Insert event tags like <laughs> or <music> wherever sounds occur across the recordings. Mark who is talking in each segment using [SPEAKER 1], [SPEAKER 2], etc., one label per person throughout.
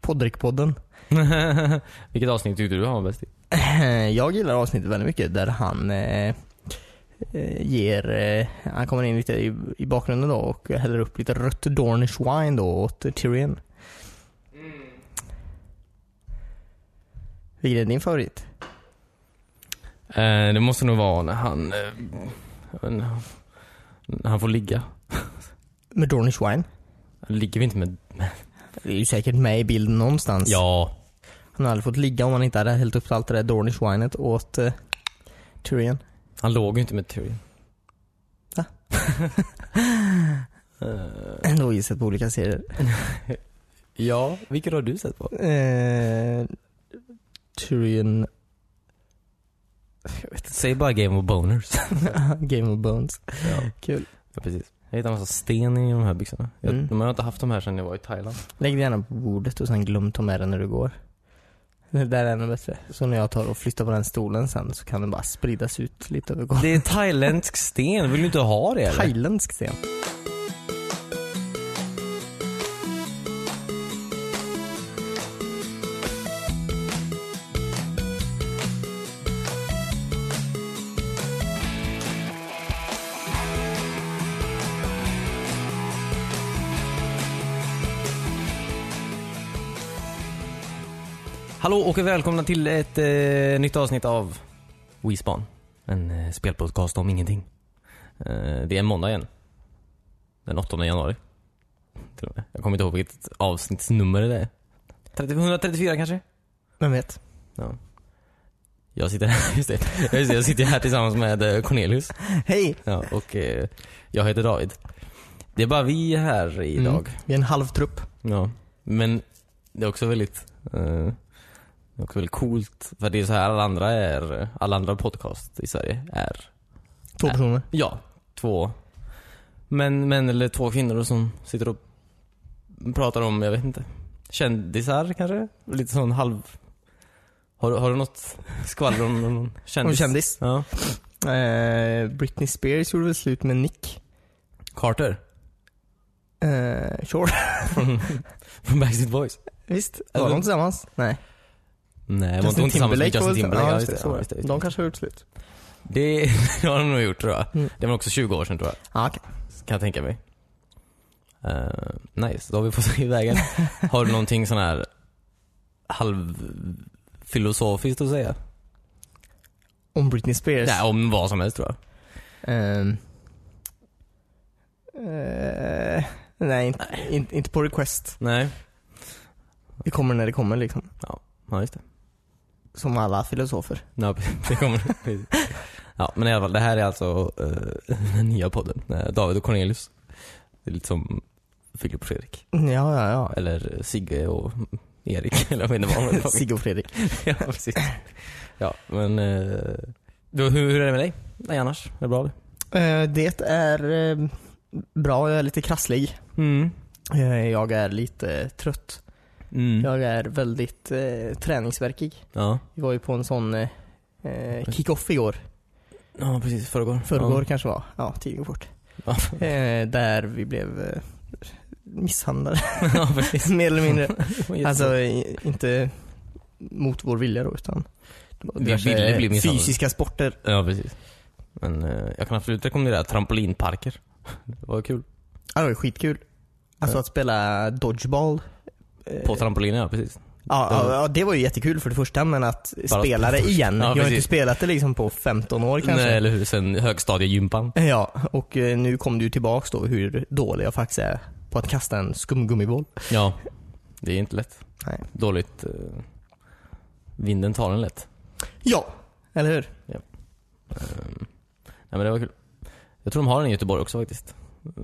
[SPEAKER 1] Poddrickpodden.
[SPEAKER 2] Vilket avsnitt tyckte du han var bäst i?
[SPEAKER 1] Eh, Jag gillar avsnittet väldigt mycket där han eh, eh, ger, eh, han kommer in lite i, i bakgrunden då och häller upp lite rött Dornish wine då åt Tyrion. Vilken är din favorit?
[SPEAKER 2] Eh, det måste nog vara när han... Eh, jag vet inte, när han får ligga.
[SPEAKER 1] Med Dornish wine?
[SPEAKER 2] Ligger vi inte med...
[SPEAKER 1] Det är ju säkert med i bilden någonstans.
[SPEAKER 2] Ja.
[SPEAKER 1] Han hade aldrig fått ligga om han inte hade hällt upp allt det där Dornish winet åt eh, Tyrion.
[SPEAKER 2] Han låg ju inte med Tyrion.
[SPEAKER 1] Va?
[SPEAKER 2] <laughs> Eh,
[SPEAKER 1] Då har vi sett på olika <laughs> serier.
[SPEAKER 2] ja, vilken har du sett på?
[SPEAKER 1] Eh, Tyrion
[SPEAKER 2] Säg bara Game of Boners.
[SPEAKER 1] <laughs> Game of Bones.
[SPEAKER 2] ja.
[SPEAKER 1] Kul.
[SPEAKER 2] ja, precis. Jag hittade en massa sten i de här byxorna. Jag,
[SPEAKER 1] Mm.
[SPEAKER 2] Men jag har inte haft de här sedan jag var i Thailand.
[SPEAKER 1] Lägg dig gärna på bordet och sen glöm ta med den när du går. Det där är ännu bättre. Så när jag tar och flyttar på den stolen sen så kan den bara spridas ut lite över golvet.
[SPEAKER 2] Det är thailändsk sten, vill du inte ha det eller?
[SPEAKER 1] Thailändsk sten.
[SPEAKER 2] Hallå och välkomna till ett eh, nytt avsnitt av WeSpan. En eh, spelpodcast om ingenting. Eh, det är en måndag igen. Den 8 januari. Till och med. Jag kommer inte ihåg vilket avsnittsnummer det är. 30, 134 kanske?
[SPEAKER 1] Vem vet?
[SPEAKER 2] Ja. Jag sitter här, <laughs> just det. Ja, Just det, jag sitter här tillsammans med eh, Cornelius.
[SPEAKER 1] Hej!
[SPEAKER 2] Ja, och eh, jag heter David. Det är bara vi här idag.
[SPEAKER 1] Mm. Vi är en halv trupp.
[SPEAKER 2] Ja, men det är också väldigt eh, det är också väldigt coolt för det är så här alla andra är, alla andra podcast i Sverige är,
[SPEAKER 1] Två
[SPEAKER 2] Nej.
[SPEAKER 1] personer.
[SPEAKER 2] ja, två män, män eller två kvinnor som sitter och pratar om, jag vet inte, kändisar kanske? Lite sån halv... Har, du- har du något skvaller om <laughs> någon kändis?
[SPEAKER 1] Om kändis.
[SPEAKER 2] Ja.
[SPEAKER 1] Eh, Britney Spears gjorde väl slut med Nick.
[SPEAKER 2] Carter
[SPEAKER 1] Eh, sure. <laughs>
[SPEAKER 2] från, <laughs> från Backstreet Boys.
[SPEAKER 1] Visst?
[SPEAKER 2] Eller-
[SPEAKER 1] Var de tillsammans? Nej.
[SPEAKER 2] Nej, Alltså- var inte hon tillsammans med Justin Timberlake?
[SPEAKER 1] Ja,
[SPEAKER 2] Ja,
[SPEAKER 1] just det,
[SPEAKER 2] just det, ja, just det, just det.
[SPEAKER 1] De kanske har gjort slut.
[SPEAKER 2] Det <laughs> det har de nog gjort tror jag.
[SPEAKER 1] Mm.
[SPEAKER 2] Det var också 20 år sedan tror jag.
[SPEAKER 1] Ah, okay.
[SPEAKER 2] Kan jag tänka mig. Eh, nice, då har vi fått i vägen. har du någonting sån här halvfilosofiskt att säga?
[SPEAKER 1] Om Britney Spears.
[SPEAKER 2] Nej, om vad som helst tror jag.
[SPEAKER 1] Ehm. Eh, nej, inte, in, inte på request.
[SPEAKER 2] Nej,
[SPEAKER 1] Det kommer när det kommer liksom.
[SPEAKER 2] ja just det.
[SPEAKER 1] Som alla filosofer.
[SPEAKER 2] Ja, <laughs> det kommer. ja, men i alla fall, det här är alltså eh, den nya podden. Eh, David och Cornelius. Det är lite som Filip och Fredrik.
[SPEAKER 1] Ja, ja, ja.
[SPEAKER 2] Eller Sigge och Erik, <laughs> eller jag vet inte vad de heter.
[SPEAKER 1] Sigge och Fredrik.
[SPEAKER 2] <laughs> ja, precis. Ja, men... eh, då, hur, hur är det med dig? Nej, annars? Är det bra? eller?
[SPEAKER 1] Eh, det är eh, bra, jag är lite krasslig.
[SPEAKER 2] Mm.
[SPEAKER 1] Eh, jag är lite trött.
[SPEAKER 2] Mm.
[SPEAKER 1] Jag är väldigt eh, träningsverkig.
[SPEAKER 2] Ja.
[SPEAKER 1] Vi var ju på en sån eh, eh, kick-off igår.
[SPEAKER 2] ja, precis. Förrgår.
[SPEAKER 1] Förrgår
[SPEAKER 2] <laughs>
[SPEAKER 1] kanske var. Ja, tiden går fort.
[SPEAKER 2] Ja,
[SPEAKER 1] Eh, där vi blev eh, misshandlade,
[SPEAKER 2] ja precis.
[SPEAKER 1] mer eller mindre.
[SPEAKER 2] <laughs> Alltså,
[SPEAKER 1] Alltså i- inte mot vår vilja då utan det var
[SPEAKER 2] Vi
[SPEAKER 1] diverse
[SPEAKER 2] ville bli misshandlade.
[SPEAKER 1] fysiska sporter.
[SPEAKER 2] ja, precis. Men eh, jag kan absolut rekommendera trampolinparker. Det var kul.
[SPEAKER 1] Ja, det var skitkul. Alltså
[SPEAKER 2] Ja.
[SPEAKER 1] att spela dodgeball. Eh,
[SPEAKER 2] På trampoliner, ja precis.
[SPEAKER 1] ja, ja, ja, det var ju jättekul för det första men att
[SPEAKER 2] Bara
[SPEAKER 1] spela det igen.
[SPEAKER 2] Ja,
[SPEAKER 1] jag har inte
[SPEAKER 2] precis.
[SPEAKER 1] spelat det liksom på 15 år kanske.
[SPEAKER 2] Nej, eller hur? Sen högstadiegympan.
[SPEAKER 1] Ja, och eh, nu kom det ju tillbaks då hur dålig jag faktiskt är på att kasta en skumgummiboll.
[SPEAKER 2] Ja. Det är inte lätt.
[SPEAKER 1] Nej.
[SPEAKER 2] Dåligt. eh, vinden tar en lätt.
[SPEAKER 1] Ja, eller hur?
[SPEAKER 2] Ehm, Nej men det var kul. Jag tror de har den i Göteborg också faktiskt. Eh,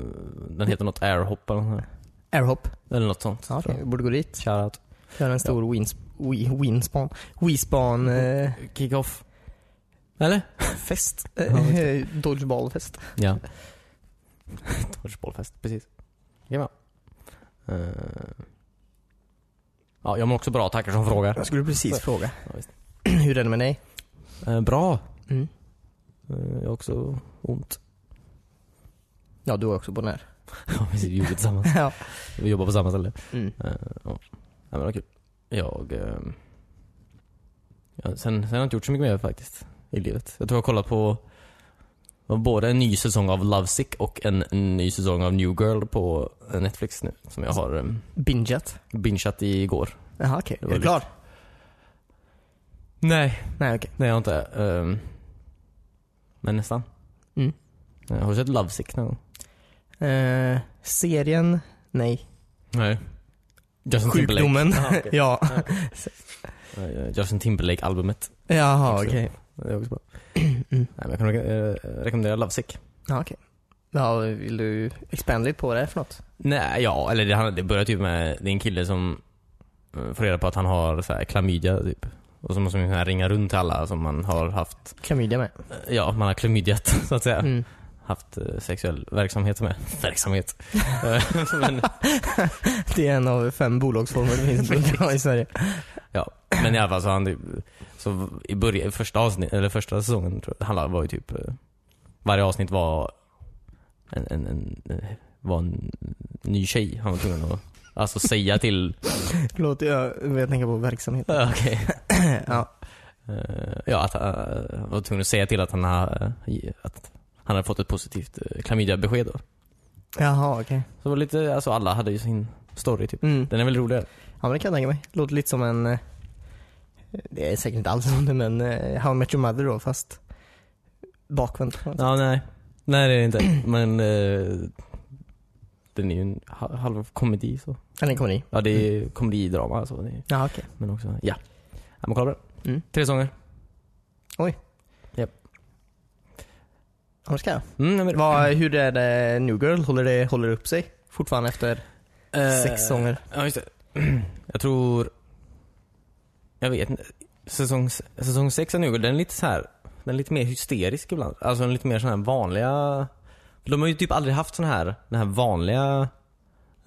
[SPEAKER 2] Den heter något airhop eller något, sånt
[SPEAKER 1] Airhop.
[SPEAKER 2] här. eller något sånt.
[SPEAKER 1] Ja,
[SPEAKER 2] tror
[SPEAKER 1] okay.
[SPEAKER 2] jag.
[SPEAKER 1] Vi borde gå dit.
[SPEAKER 2] Shoutout.
[SPEAKER 1] Göra en stor wins, wi- winspan. Wispan eh,
[SPEAKER 2] Kick-off. Eller?
[SPEAKER 1] fest.
[SPEAKER 2] Ja, just
[SPEAKER 1] Eh, Dodgeballfest.
[SPEAKER 2] <laughs> Ja. Dodgeballfest, precis. Jajamän. Uh, ja, jag mår också bra, tackar som frågar.
[SPEAKER 1] Jag skulle precis fråga.
[SPEAKER 2] Ja, visst.
[SPEAKER 1] <clears throat> Hur är det med dig?
[SPEAKER 2] Eh, bra.
[SPEAKER 1] Mm.
[SPEAKER 2] Eh, jag har också <laughs> ont.
[SPEAKER 1] Ja, du var också bonär.
[SPEAKER 2] Ja, precis. Vi gjorde tillsammans.
[SPEAKER 1] <laughs> ja.
[SPEAKER 2] Vi jobbar på samma ställe.
[SPEAKER 1] Mm.
[SPEAKER 2] Eh, ja. Nej men vad kul. Jag... ehm, ja, sen, sen har jag inte gjort så mycket mer faktiskt i livet. Jag tror jag har kollat på det var både en ny säsong av Lovesick och en ny säsong av New Girl på Netflix nu. Som jag har um,
[SPEAKER 1] Bingeat?
[SPEAKER 2] bingeat i igår.
[SPEAKER 1] Jaha okej.
[SPEAKER 2] Det
[SPEAKER 1] Är
[SPEAKER 2] var
[SPEAKER 1] du klar?
[SPEAKER 2] Nej.
[SPEAKER 1] Nej okej.
[SPEAKER 2] Nej jag har inte. ehm, men nästan.
[SPEAKER 1] Mm.
[SPEAKER 2] Eh, Har du sett Lovesick någon gång?
[SPEAKER 1] Eh, serien? Nej.
[SPEAKER 2] Nej. Justin Timberlake.
[SPEAKER 1] Sjukdomen?
[SPEAKER 2] Jaha,
[SPEAKER 1] <laughs>
[SPEAKER 2] okej.
[SPEAKER 1] ja.
[SPEAKER 2] Eh, Justin Timberlake-albumet.
[SPEAKER 1] Jaha
[SPEAKER 2] Också.
[SPEAKER 1] okej. Mm.
[SPEAKER 2] Det
[SPEAKER 1] <clears throat>
[SPEAKER 2] är också bra. Nej, men jag kan re- eh, rekommendera Lovesick.
[SPEAKER 1] Ja okej. Ja, vill du expandera lite på vad det är för något?
[SPEAKER 2] Nej, ja, eller det, han- det börjar typ med, det är en kille som eh, får reda på att han har så här klamydia typ. Och så måste man ju så här ringa runt till alla som man har haft,
[SPEAKER 1] Klamydia med.
[SPEAKER 2] eh, ja man har klamydiat <laughs> så att säga.
[SPEAKER 1] Mm.
[SPEAKER 2] Haft eh, sexuell verksamhet med. <laughs> Verksamhet. Eh, men,
[SPEAKER 1] Det är en av fem bolagsformer det <laughs> finns i Sverige.
[SPEAKER 2] men i alla fall så han typ, så i början, första avsnitt, eller första säsongen tror jag, det handlade, var ju typ, eh, varje avsnitt var en, en, en, eh, var en ny tjej han var tvungen att, alltså säga <laughs> till,
[SPEAKER 1] Förlåt, jag vet tänka på verksamhet.
[SPEAKER 2] Eh, okej.
[SPEAKER 1] ja.
[SPEAKER 2] Eh, ja, att han var tvungen att säga till att han, har, att han hade fått ett positivt eh, klamydiabesked då.
[SPEAKER 1] Jaha okej.
[SPEAKER 2] Så det var lite, alltså alla hade ju sin story typ.
[SPEAKER 1] Mm.
[SPEAKER 2] Den är väl roligare?
[SPEAKER 1] Ja men det kan jag tänka mig. Låter lite som en... eh, Det är säkert inte alls <laughs> som det men eh, How I Met Your Mother då fast bakvänt.
[SPEAKER 2] Ja, nej. Nej det är det inte. <clears throat> Men eh, den är ju en ha- halv komedi så.
[SPEAKER 1] Eller en komedi.
[SPEAKER 2] Ja det är mm. komedidrama alltså. Det är,
[SPEAKER 1] Ja okej.
[SPEAKER 2] men också, ja. ja men kolla på den.
[SPEAKER 1] Mm.
[SPEAKER 2] Tre sånger.
[SPEAKER 1] Ja, men ska jag.
[SPEAKER 2] Mm, nej, men-
[SPEAKER 1] Vad, hur är det New Girl? Håller det håller det upp sig? Fortfarande efter
[SPEAKER 2] Eh,
[SPEAKER 1] sex sånger?
[SPEAKER 2] Ja, just det. <clears throat> Jag tror... Jag vet inte. Säsong, säsong 6 av New Girl, den är lite så här, den är lite mer hysterisk ibland. Alltså den är lite mer sån här vanliga... De har ju typ aldrig haft sån här, den här vanliga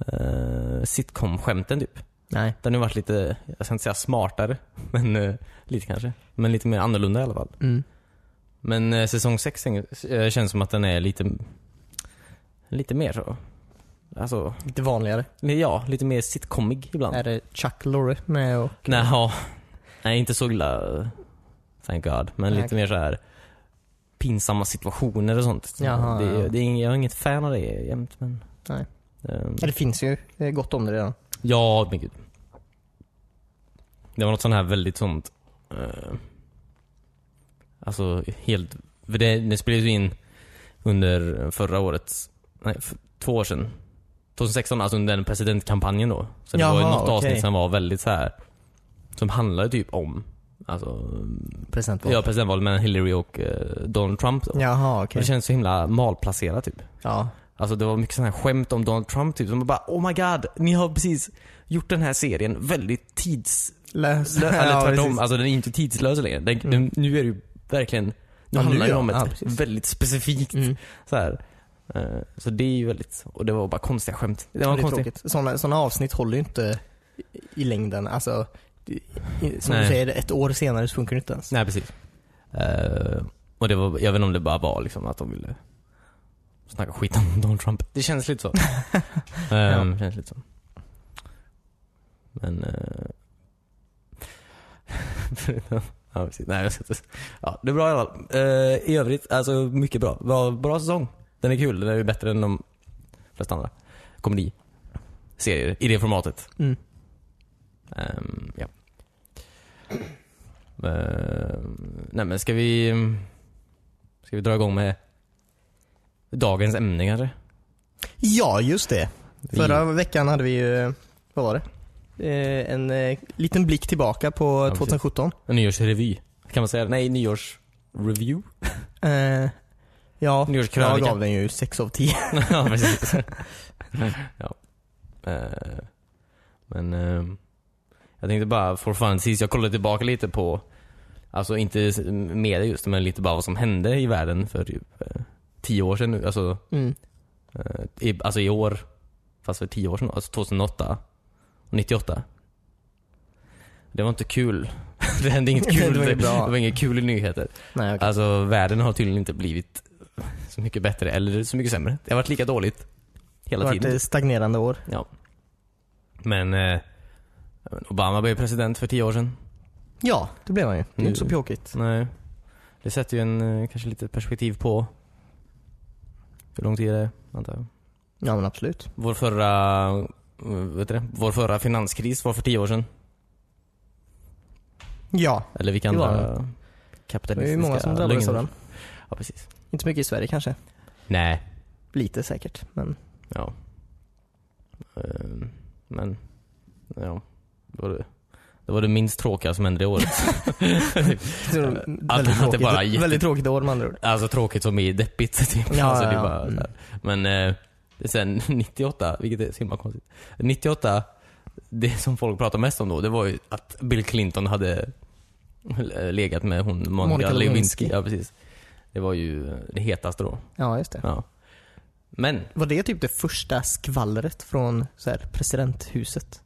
[SPEAKER 2] eh, sitcom-skämten typ.
[SPEAKER 1] Nej.
[SPEAKER 2] Den har ju varit lite, jag ska inte säga smartare, <laughs> men eh, lite kanske. Men lite mer annorlunda i alla fall.
[SPEAKER 1] Mm.
[SPEAKER 2] Men eh, säsong 6 eh, känns som att den är lite, lite mer så. Alltså,
[SPEAKER 1] Lite vanligare.
[SPEAKER 2] ja, lite mer sitcomig ibland.
[SPEAKER 1] Är det Chuck Lorre med och...
[SPEAKER 2] Nej, ja. Nej, inte så illa. eh, Thank God. Men
[SPEAKER 1] Nej,
[SPEAKER 2] lite mer så här pinsamma situationer och sånt.
[SPEAKER 1] Jaha,
[SPEAKER 2] det,
[SPEAKER 1] ja.
[SPEAKER 2] det är, ing- jag är inget fan av det jämt men...
[SPEAKER 1] Nej.
[SPEAKER 2] ehm,
[SPEAKER 1] Ja, det finns ju eh, gott om det redan.
[SPEAKER 2] ja, men gud. Det var något sånt här väldigt sånt... eh, alltså helt... För det, det spelades ju in under förra årets... Nej, för två år sedan. 2016, alltså under den presidentkampanjen då. Så det var ju
[SPEAKER 1] Jaha,
[SPEAKER 2] något avsnitt
[SPEAKER 1] okej.
[SPEAKER 2] som var väldigt så här Som handlade typ om Alltså,
[SPEAKER 1] Presentval.
[SPEAKER 2] ja presidentvalet mellan Hillary och eh, Donald Trump då.
[SPEAKER 1] Jaha
[SPEAKER 2] Och
[SPEAKER 1] okej.
[SPEAKER 2] Det känns så himla malplacerat typ.
[SPEAKER 1] Ja.
[SPEAKER 2] Alltså det var mycket sådana här skämt om Donald Trump typ. Som man bara oh my god, ni har precis gjort den här serien väldigt tidslös.
[SPEAKER 1] Lös. <laughs>
[SPEAKER 2] Eller tvärtom,
[SPEAKER 1] precis.
[SPEAKER 2] alltså den är inte tidslös längre. Den,
[SPEAKER 1] Mm.
[SPEAKER 2] den, nu är det ju verkligen, nu
[SPEAKER 1] Ja, nu
[SPEAKER 2] handlar det
[SPEAKER 1] ja.
[SPEAKER 2] om ett
[SPEAKER 1] Ja, precis.
[SPEAKER 2] väldigt specifikt
[SPEAKER 1] Mm.
[SPEAKER 2] så här. Eh, Så det är ju väldigt, och det var bara konstiga skämt. Det
[SPEAKER 1] Det
[SPEAKER 2] var
[SPEAKER 1] är
[SPEAKER 2] konstigt.
[SPEAKER 1] tråkigt. Sådana, sådana avsnitt håller ju inte i- i längden. Alltså, i- i- som
[SPEAKER 2] Nej.
[SPEAKER 1] du säger, ett år senare så funkar det inte ens.
[SPEAKER 2] Nej precis. Alltså. Eh, och det var, jag vet inte om det bara var liksom att de ville snacka skit om <laughs> Donald Trump. Det känns <laughs> lite så. Eh,
[SPEAKER 1] Ja.
[SPEAKER 2] känns lite så. Men... eh, <laughs> ja, precis. Nej, jag ska inte... Ja, det är bra i alla fall. Eh, I övrigt, alltså mycket bra. bra. Bra säsong. Den är kul. Den är ju bättre än de flesta andra komediserier i det formatet.
[SPEAKER 1] Mm.
[SPEAKER 2] Ehm, ja. Ehm, nej men ska vi... Ska vi dra igång med dagens ämne kanske?
[SPEAKER 1] Ja, just det.
[SPEAKER 2] Vi-
[SPEAKER 1] Förra veckan hade vi ju, vad var det? Eh, en eh, liten blick tillbaka på
[SPEAKER 2] precis.
[SPEAKER 1] 2017.
[SPEAKER 2] En nyårsrevy. Kan man säga det? Nej, nyårsreview?
[SPEAKER 1] Eh, ja, jag
[SPEAKER 2] Nyårskrönika.
[SPEAKER 1] gav den ju 6 av 10.
[SPEAKER 2] <laughs> ja, precis. ja. Eh, men ehm, jag tänkte bara for fun, sist jag kollade tillbaka lite på, alltså inte s- media just, men lite bara vad som hände i världen för typ eh, tio år sedan nu. Alltså,
[SPEAKER 1] <laughs> Mm.
[SPEAKER 2] eh, i, alltså i år, fast för tio år sedan, alltså 2008 och 98. Det var inte kul. <laughs> det hände inget
[SPEAKER 1] <laughs>
[SPEAKER 2] kul.
[SPEAKER 1] Det var ju bra.
[SPEAKER 2] det var inga kul nyheter.
[SPEAKER 1] Nej, okej.
[SPEAKER 2] Alltså världen har tydligen inte blivit så mycket bättre eller så mycket sämre. Det har varit lika dåligt
[SPEAKER 1] Det
[SPEAKER 2] hela
[SPEAKER 1] har varit
[SPEAKER 2] tiden.
[SPEAKER 1] ett stagnerande år.
[SPEAKER 2] Ja. Men eh, Men Obama blev president för tio år sedan.
[SPEAKER 1] Ja, det blev han ju. Det är inte så
[SPEAKER 2] Mm.
[SPEAKER 1] pjåkigt.
[SPEAKER 2] Nej. Det sätter ju en, eh, kanske lite perspektiv på hur lång tid det är, antar jag.
[SPEAKER 1] Ja men absolut.
[SPEAKER 2] Vår förra, eh, vet du det? Vår förra finanskris var för tio år sedan.
[SPEAKER 1] Ja,
[SPEAKER 2] Eller vilka
[SPEAKER 1] Det var
[SPEAKER 2] andra
[SPEAKER 1] det är
[SPEAKER 2] kapitalistiska
[SPEAKER 1] ju många som drabbades av den.
[SPEAKER 2] lögner. Ja, precis.
[SPEAKER 1] Inte så mycket i Sverige kanske.
[SPEAKER 2] Nej.
[SPEAKER 1] Lite säkert, men
[SPEAKER 2] Ja. Ehm, Men, ja. Det var det, det var det minst tråkiga som hände i <laughs> året.
[SPEAKER 1] Så,
[SPEAKER 2] Att-
[SPEAKER 1] väldigt,
[SPEAKER 2] att det
[SPEAKER 1] tråkigt,
[SPEAKER 2] bara är jätte-
[SPEAKER 1] väldigt tråkigt år med andra ord.
[SPEAKER 2] Alltså tråkigt som i deppigt. <laughs> Typ.
[SPEAKER 1] Ja,
[SPEAKER 2] alltså,
[SPEAKER 1] ja,
[SPEAKER 2] det är
[SPEAKER 1] ja.
[SPEAKER 2] bara,
[SPEAKER 1] Mm.
[SPEAKER 2] Men eh, det är sen <laughs> 98, vilket är så himla konstigt. 98, det som folk pratar mest om då, det var ju att Bill Clinton hade <laughs> legat med hon Monica,
[SPEAKER 1] Monica Lewinsky.
[SPEAKER 2] Lewinsky. Ja, precis. Det var ju det hetaste då.
[SPEAKER 1] Ja, just det.
[SPEAKER 2] Ja. Men,
[SPEAKER 1] Var det typ det första skvallret från så här, presidenthuset?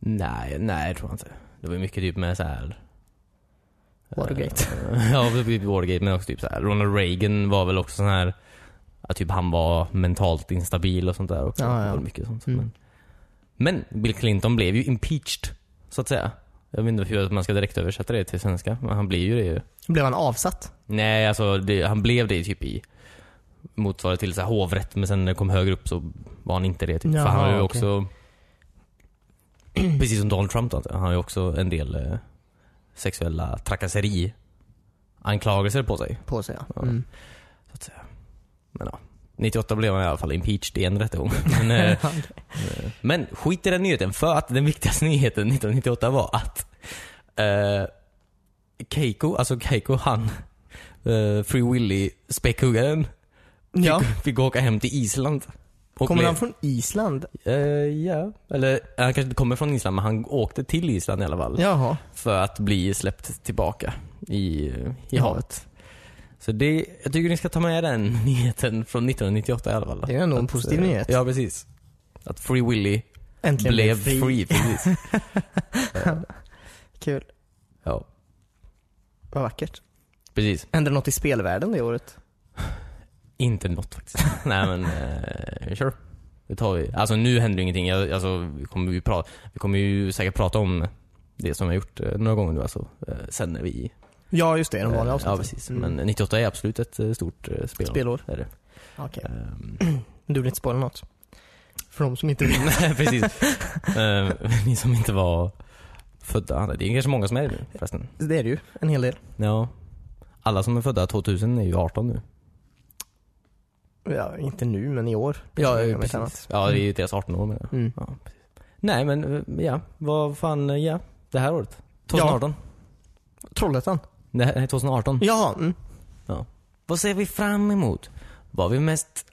[SPEAKER 2] nej, nej jag tror jag inte. Det var ju mycket typ med så här.
[SPEAKER 1] Watergate.
[SPEAKER 2] Eh, <laughs> ja, typ Watergate men också typ så här. Ronald Reagan var väl också sån här att typ han var mentalt instabil och sånt där också.
[SPEAKER 1] Ja, ja.
[SPEAKER 2] Det var mycket sånt.
[SPEAKER 1] Mm.
[SPEAKER 2] Men, men Bill Clinton blev ju impeached, så att säga. Jag vet inte hur man ska direkt översätta det till svenska, men han blev ju det ju.
[SPEAKER 1] Blev han avsatt?
[SPEAKER 2] Nej, alltså det, han blev det typ i motsvarande till så här, hovrätt, men sen när det kom högre upp så var han inte det. Typ. För
[SPEAKER 1] Jaha,
[SPEAKER 2] han har ju
[SPEAKER 1] okej.
[SPEAKER 2] också, precis som Donald Trump, då, han har ju också en del eh, sexuella trakasseri-anklagelser på sig.
[SPEAKER 1] På sig ja.
[SPEAKER 2] Ja.
[SPEAKER 1] Mm.
[SPEAKER 2] Så att säga. Men ja, 98 blev han i alla fall impeached i en rättegång. Men, eh, eh, men skit i den nyheten, för att den viktigaste <laughs> nyheten 1998 var att eh, Keiko, alltså Keiko han, eh, Free Willy späckhuggaren,
[SPEAKER 1] ja.
[SPEAKER 2] fick, <laughs> fick åka hem till Island. Och
[SPEAKER 1] Kommer
[SPEAKER 2] blev-
[SPEAKER 1] han från Island?
[SPEAKER 2] Eh, ja, eller han kanske inte kommer från Island men han åkte till Island i alla fall.
[SPEAKER 1] Jaha.
[SPEAKER 2] För att bli släppt tillbaka i, i
[SPEAKER 1] I
[SPEAKER 2] havet. Så det, jag tycker ni ska ta med den <laughs> nyheten från 1998 i alla fall.
[SPEAKER 1] Det är ju ändå en
[SPEAKER 2] Att,
[SPEAKER 1] positiv
[SPEAKER 2] eh,
[SPEAKER 1] nyhet.
[SPEAKER 2] Ja, precis. Att Free Willy
[SPEAKER 1] Äntligen
[SPEAKER 2] blev
[SPEAKER 1] <laughs>
[SPEAKER 2] free. precis.
[SPEAKER 1] Kul.
[SPEAKER 2] ja,
[SPEAKER 1] Vad vackert.
[SPEAKER 2] precis.
[SPEAKER 1] Hände något i spelvärlden det året?
[SPEAKER 2] Inte något faktiskt. <laughs> Nej men, eh, sure. Det tar vi. Alltså nu händer ju ingenting. Jag, alltså, vi, kommer ju pra- vi kommer ju säkert prata om det som jag har gjort eh, några gånger nu alltså. Eh, sen när vi...
[SPEAKER 1] Ja just det, de vanliga
[SPEAKER 2] eh,
[SPEAKER 1] avsnitten.
[SPEAKER 2] ja precis.
[SPEAKER 1] Mm.
[SPEAKER 2] Men 98 är absolut ett eh, stort eh, spel.
[SPEAKER 1] Spelår.
[SPEAKER 2] Är det.
[SPEAKER 1] Okej.
[SPEAKER 2] Ehm, <laughs>
[SPEAKER 1] Du vill inte spoila något? För de som inte vill.
[SPEAKER 2] Nej, precis. Eh, ni som inte var födda. Det är kanske många som är det nu förresten.
[SPEAKER 1] Det är det ju. En hel del.
[SPEAKER 2] Ja. Alla som är födda 2000 är ju 18 nu.
[SPEAKER 1] Ja, inte nu men i år. Om inte annat.
[SPEAKER 2] Ja, det är ju deras 18 år menar jag.
[SPEAKER 1] Mm.
[SPEAKER 2] Ja, precis. Nej men eh, ja, vad fan, eh, ja. Det här året. 2018.
[SPEAKER 1] Trollhättan.
[SPEAKER 2] Nej, nej, 2018.
[SPEAKER 1] Jaha. Mm.
[SPEAKER 2] Vad ser vi fram emot? Vad vi mest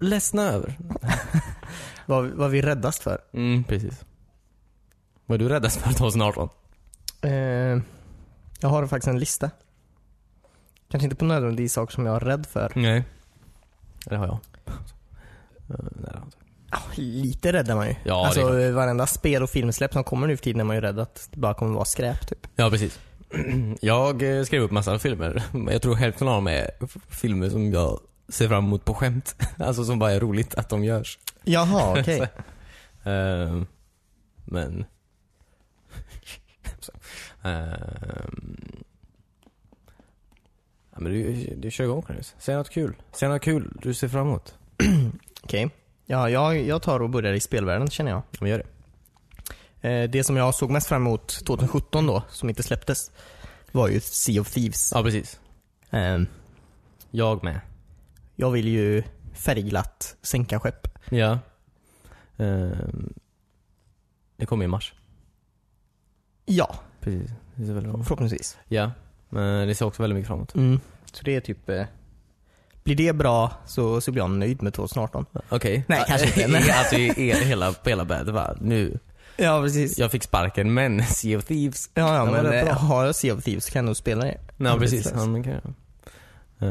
[SPEAKER 2] ledsna över?
[SPEAKER 1] Vad, vad vi är räddast för?
[SPEAKER 2] Mm, precis. Vad är du räddast för 2018?
[SPEAKER 1] Eh, jag har faktiskt en lista. Kanske inte på nödvändigtvis saker som jag är rädd för.
[SPEAKER 2] Nej. Det har jag. Eh, nej, det har jag inte.
[SPEAKER 1] Ja, Ah, lite rädd är man ju.
[SPEAKER 2] Ja, det är
[SPEAKER 1] alltså eh, varenda spel och filmsläpp som kommer nu för tiden är man ju rädd att det bara kommer vara skräp typ.
[SPEAKER 2] Ja, precis. Jag eh, skrev upp massa filmer. Jag tror hälften av dem är f- filmer som jag ser fram emot på skämt. <laughs> Alltså som bara är roligt att de görs.
[SPEAKER 1] <laughs> Jaha, okej.
[SPEAKER 2] Ehm, men... <laughs> Ehm. ja, men du, du kör igång Cornelius. Säg något kul. Säg något kul du ser fram emot.
[SPEAKER 1] Okej. Ja, jag, jag tar och börjar i spelvärlden känner jag.
[SPEAKER 2] Ja, men gör det.
[SPEAKER 1] Eh, det som jag såg mest fram emot 2017 då, som inte släpptes, var ju Sea of Thieves.
[SPEAKER 2] Ja, precis.
[SPEAKER 1] Eh,
[SPEAKER 2] Jag med.
[SPEAKER 1] jag vill ju färgglatt sänka skepp.
[SPEAKER 2] Ja. Ehm. det kommer i mars.
[SPEAKER 1] Ja,
[SPEAKER 2] Precis. Det ser väldigt bra ut.
[SPEAKER 1] förhoppningsvis.
[SPEAKER 2] Ja, men det ser också väldigt mycket framåt.
[SPEAKER 1] Mm. Så det är typ... Eh, blir det bra så, så blir jag nöjd med 2018.
[SPEAKER 2] Okej.
[SPEAKER 1] Nej, kanske
[SPEAKER 2] <laughs>
[SPEAKER 1] inte, men-
[SPEAKER 2] alltså i er, hela, på hela bandet va? Nu,
[SPEAKER 1] Ja, precis.
[SPEAKER 2] jag fick sparken men <laughs> Sea of Thieves.
[SPEAKER 1] Ja, ja
[SPEAKER 2] Ja,
[SPEAKER 1] men
[SPEAKER 2] det är bra.
[SPEAKER 1] eh, har jag Sea of Thieves kan jag nog spela det.
[SPEAKER 2] Ja precis.
[SPEAKER 1] precis.
[SPEAKER 2] Ja, men kan jag.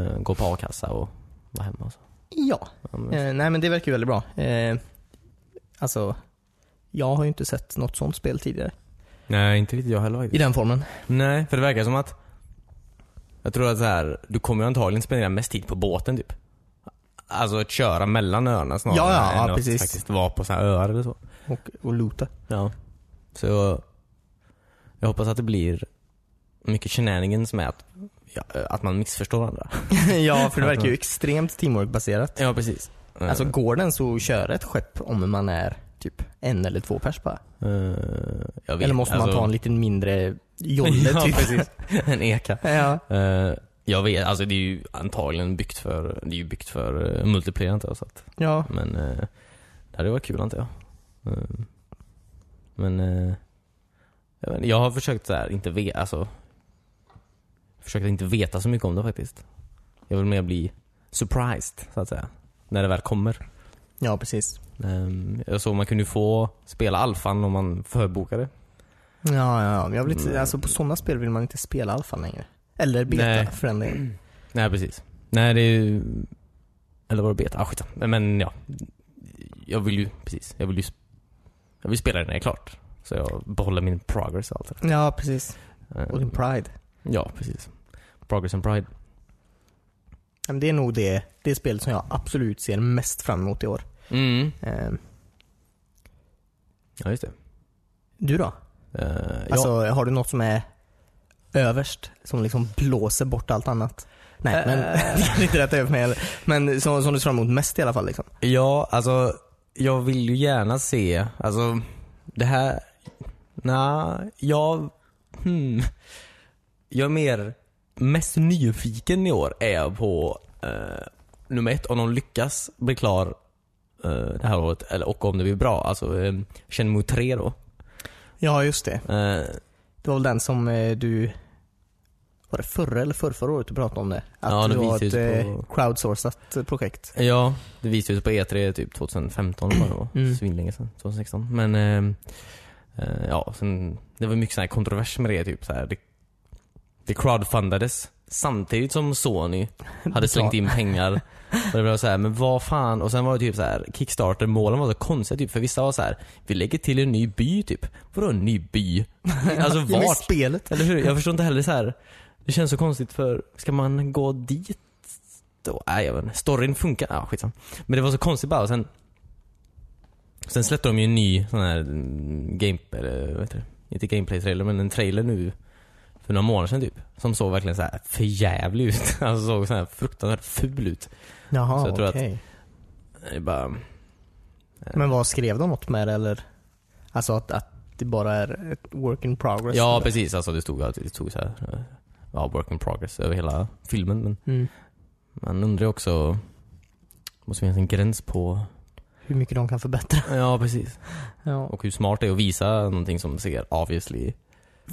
[SPEAKER 2] Eh, gå på a-kassa och vara hemma och så.
[SPEAKER 1] Ja.
[SPEAKER 2] Ja, men,
[SPEAKER 1] Eh, nej men det verkar ju väldigt bra. Eh, alltså, jag har ju inte sett något sånt spel tidigare.
[SPEAKER 2] Nej, inte riktigt jag heller
[SPEAKER 1] I
[SPEAKER 2] faktiskt.
[SPEAKER 1] den formen.
[SPEAKER 2] Nej, för det verkar som att jag tror att så här, du kommer ju antagligen spendera mest tid på båten typ. Alltså att köra mellan öarna snarare
[SPEAKER 1] Ja, ja,
[SPEAKER 2] än
[SPEAKER 1] ja,
[SPEAKER 2] att
[SPEAKER 1] precis.
[SPEAKER 2] faktiskt vara på så här öar eller så.
[SPEAKER 1] Och, och loota.
[SPEAKER 2] Ja. Så jag, jag hoppas att det blir mycket shenanigans med att, ja, att man missförstår varandra.
[SPEAKER 1] <laughs> ja, för det verkar ju extremt teamwork-baserat.
[SPEAKER 2] Ja, precis.
[SPEAKER 1] Alltså
[SPEAKER 2] eh,
[SPEAKER 1] går den så att köra ett skepp om man är typ en eller två pers bara?
[SPEAKER 2] jag vet,
[SPEAKER 1] Eller måste man
[SPEAKER 2] alltså-
[SPEAKER 1] ta en lite mindre jolle
[SPEAKER 2] <laughs> ja,
[SPEAKER 1] typ?
[SPEAKER 2] precis. <laughs> En eka.
[SPEAKER 1] <laughs> Ja.
[SPEAKER 2] Eh, jag vet, alltså det är ju antagligen byggt för, det är ju byggt för uh, multiplayer antar jag. Så att,
[SPEAKER 1] ja.
[SPEAKER 2] men eh, det hade varit kul antar jag. Eh, men eh, jag, vet, inte, jag har försökt så här, inte veta, alltså. Försökt att inte veta så mycket om det faktiskt. Jag vill mer bli surprised så att säga. När det väl kommer.
[SPEAKER 1] Ja, precis.
[SPEAKER 2] Eh, jag såg man kunde ju få spela alfan om man förbokade.
[SPEAKER 1] Ja, ja, ja. Jag vill inte,
[SPEAKER 2] Mm.
[SPEAKER 1] alltså på sådana spel vill man inte spela alfa längre. Eller beta
[SPEAKER 2] Nej. Mm.
[SPEAKER 1] för den delen.
[SPEAKER 2] Nej precis. Nej det är ju... Eller var det beta? Ah, skitsamma. Men ja. Jag vill ju, precis. Jag vill ju... sp- Jag vill spela det när det är klart. Så jag behåller min progress och allt det
[SPEAKER 1] Ja, precis.
[SPEAKER 2] där. Eh,
[SPEAKER 1] Och din pride.
[SPEAKER 2] Ja, precis. Progress and pride.
[SPEAKER 1] Ja, men Det är nog det, det spel som jag absolut ser mest fram emot i år.
[SPEAKER 2] Mm.
[SPEAKER 1] Eh,
[SPEAKER 2] Ja, just det.
[SPEAKER 1] Du då?
[SPEAKER 2] Eh,
[SPEAKER 1] Alltså, har du något som är överst? Som liksom blåser bort allt annat?
[SPEAKER 2] Äh.
[SPEAKER 1] Nej, men <laughs> det är inte rätt över mig heller. Men som, som du ser fram emot mest i alla fall liksom.
[SPEAKER 2] ja, ja, alltså. Jag vill ju gärna se, alltså. Det här... Nej, jag... Hmm. Jag är mer... Mest nyfiken i år är jag på eh, nummer ett, om de lyckas bli klar eh, det här året eller, och om det blir bra. Alltså eh, Shenmue 3 då.
[SPEAKER 1] Ja, just det.
[SPEAKER 2] Eh,
[SPEAKER 1] Det var väl den som eh, du... Var det förra eller förrförra året du pratade om det? Att
[SPEAKER 2] Ja, det
[SPEAKER 1] det var ett
[SPEAKER 2] visades
[SPEAKER 1] eh,
[SPEAKER 2] på-
[SPEAKER 1] crowdsourcat eh, projekt.
[SPEAKER 2] ja, det visades ju på E3 typ 2015 eller vad det var.
[SPEAKER 1] Mm.
[SPEAKER 2] Svinlänge sedan. 2016. Men eh, eh, ja, sen, det var mycket sån här kontrovers med det. Typ, så här, det, det crowdfundades samtidigt
[SPEAKER 1] <laughs>
[SPEAKER 2] som Sony hade slängt in pengar. Och det var så här, men vad fan. Och sen var det typ så här, Kickstarter målen var så konstiga typ. För vissa var så här, vi lägger till en ny by typ. Vadå en ny
[SPEAKER 1] <laughs>
[SPEAKER 2] by? Alltså
[SPEAKER 1] Ja, men
[SPEAKER 2] vart?
[SPEAKER 1] spelet.
[SPEAKER 2] Eller hur? Jag förstår inte heller så här. Det känns så konstigt för, ska man gå dit? Då? Nej jag vet inte. Storyn funkar, ja skitsamma. Men det var så konstigt bara och sen Sen släppte de ju en ny sån här mm, game, eller vad heter det? Inte gameplay trailer men en trailer nu för några månader sedan typ. Som såg verkligen så här förjävlig ut. <laughs> Alltså såg så här fruktansvärt ful ut.
[SPEAKER 1] Jaha,
[SPEAKER 2] Så jag tror att-
[SPEAKER 1] okej.
[SPEAKER 2] Det är bara... eh,
[SPEAKER 1] Men vad skrev de något med det eller? Alltså att, att det bara är ett work in progress?
[SPEAKER 2] Ja
[SPEAKER 1] eller?
[SPEAKER 2] precis, alltså det stod, det stod så här, eh, ja, work in progress över hela filmen. Men
[SPEAKER 1] Mm.
[SPEAKER 2] man undrar ju också, måste finnas en gräns på...
[SPEAKER 1] Hur mycket de kan förbättra.
[SPEAKER 2] Ja precis.
[SPEAKER 1] Ja.
[SPEAKER 2] Och hur smart det är att visa någonting som ser obviously...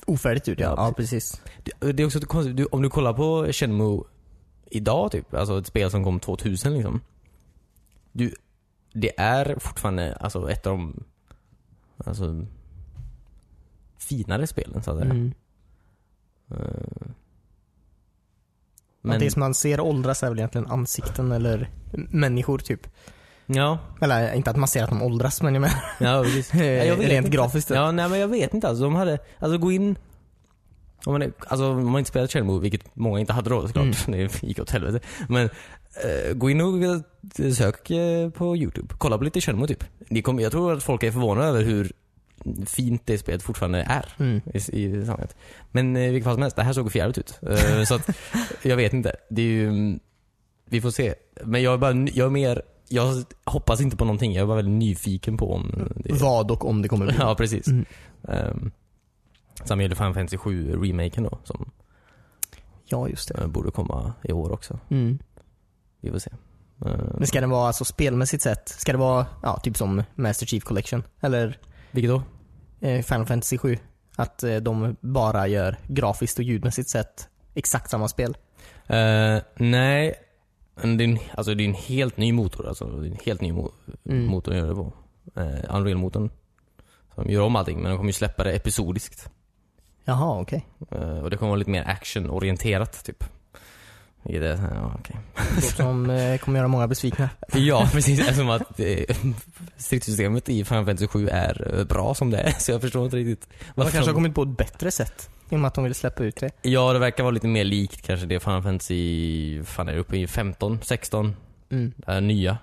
[SPEAKER 1] Ofärdigt ut ja.
[SPEAKER 2] Ja,
[SPEAKER 1] precis.
[SPEAKER 2] Det- Det är också konstigt, du, om du kollar på Shenmue idag typ, alltså ett spel som kom 2000 liksom. Du, det är fortfarande alltså ett av de, alltså, finare spelen så att säga.
[SPEAKER 1] Mm.
[SPEAKER 2] Eh,
[SPEAKER 1] Men... Det som man ser åldras är väl egentligen ansikten eller människor typ.
[SPEAKER 2] Ja,
[SPEAKER 1] Eller inte att man ser att de åldras men jag menar
[SPEAKER 2] ja precis. Ja, jag vet
[SPEAKER 1] rent
[SPEAKER 2] inte.
[SPEAKER 1] grafiskt.
[SPEAKER 2] Ja, nej men jag vet inte alltså. De hade, alltså gå in om man, är- alltså, om man inte spelat Chernobyl, vilket många inte hade då såklart. <laughs> Det gick åt helvete. Men eh, gå in och eh, sök eh, på YouTube. Kolla på lite Chernobyl typ. Det kommer- jag tror att folk är förvånade över hur fint det spelet fortfarande är
[SPEAKER 1] Mm.
[SPEAKER 2] i, i sammanhanget. Men eh, i vilket fall som helst, det här såg förjävligt ut. Eh, så att, jag vet inte. Det är ju, mm, vi får se. Men jag är bara, ny- jag är mer, jag hoppas inte på någonting. Jag är bara väldigt nyfiken på om det
[SPEAKER 1] Vad och om det kommer bli.
[SPEAKER 2] Ja, precis.
[SPEAKER 1] Mm.
[SPEAKER 2] Ehm, Samma gäller Final Fantasy 7 remaken då, som
[SPEAKER 1] Ja, just det.
[SPEAKER 2] eh, borde komma i år också.
[SPEAKER 1] Mm.
[SPEAKER 2] Vi får se. Ehm,
[SPEAKER 1] Men ska den vara alltså spelmässigt sett, ska det vara ja, typ som Master Chief Collection? Eller
[SPEAKER 2] vilket då?
[SPEAKER 1] eh, Final Fantasy 7? Att eh, de bara gör grafiskt och ljudmässigt sett exakt samma spel?
[SPEAKER 2] Eh, nej, men det är, en, alltså, det är en helt ny motor. Alltså, det är en helt ny mo-
[SPEAKER 1] Mm.
[SPEAKER 2] motor de gör det på. Eh, Unreal-motorn. Så de gör om allting, men de kommer ju släppa det episodiskt.
[SPEAKER 1] Jaha, okej.
[SPEAKER 2] Eh, och det kommer vara lite mer actionorienterat, typ. I det, ja, okej.
[SPEAKER 1] Okay. Som eh, kommer göra många besvikna.
[SPEAKER 2] Ja, precis. Eftersom att eh, stridssystemet i Final Fantasy 7 är eh, bra som det är. Så jag förstår inte riktigt
[SPEAKER 1] De
[SPEAKER 2] <laughs> varför
[SPEAKER 1] kanske har
[SPEAKER 2] de-
[SPEAKER 1] kommit på ett bättre sätt. I och med att de ville släppa ut det.
[SPEAKER 2] Ja, det verkar vara lite mer likt kanske det Final Fantasy, fan är det uppe i 15, 16,
[SPEAKER 1] Mm.
[SPEAKER 2] det här <laughs> nya.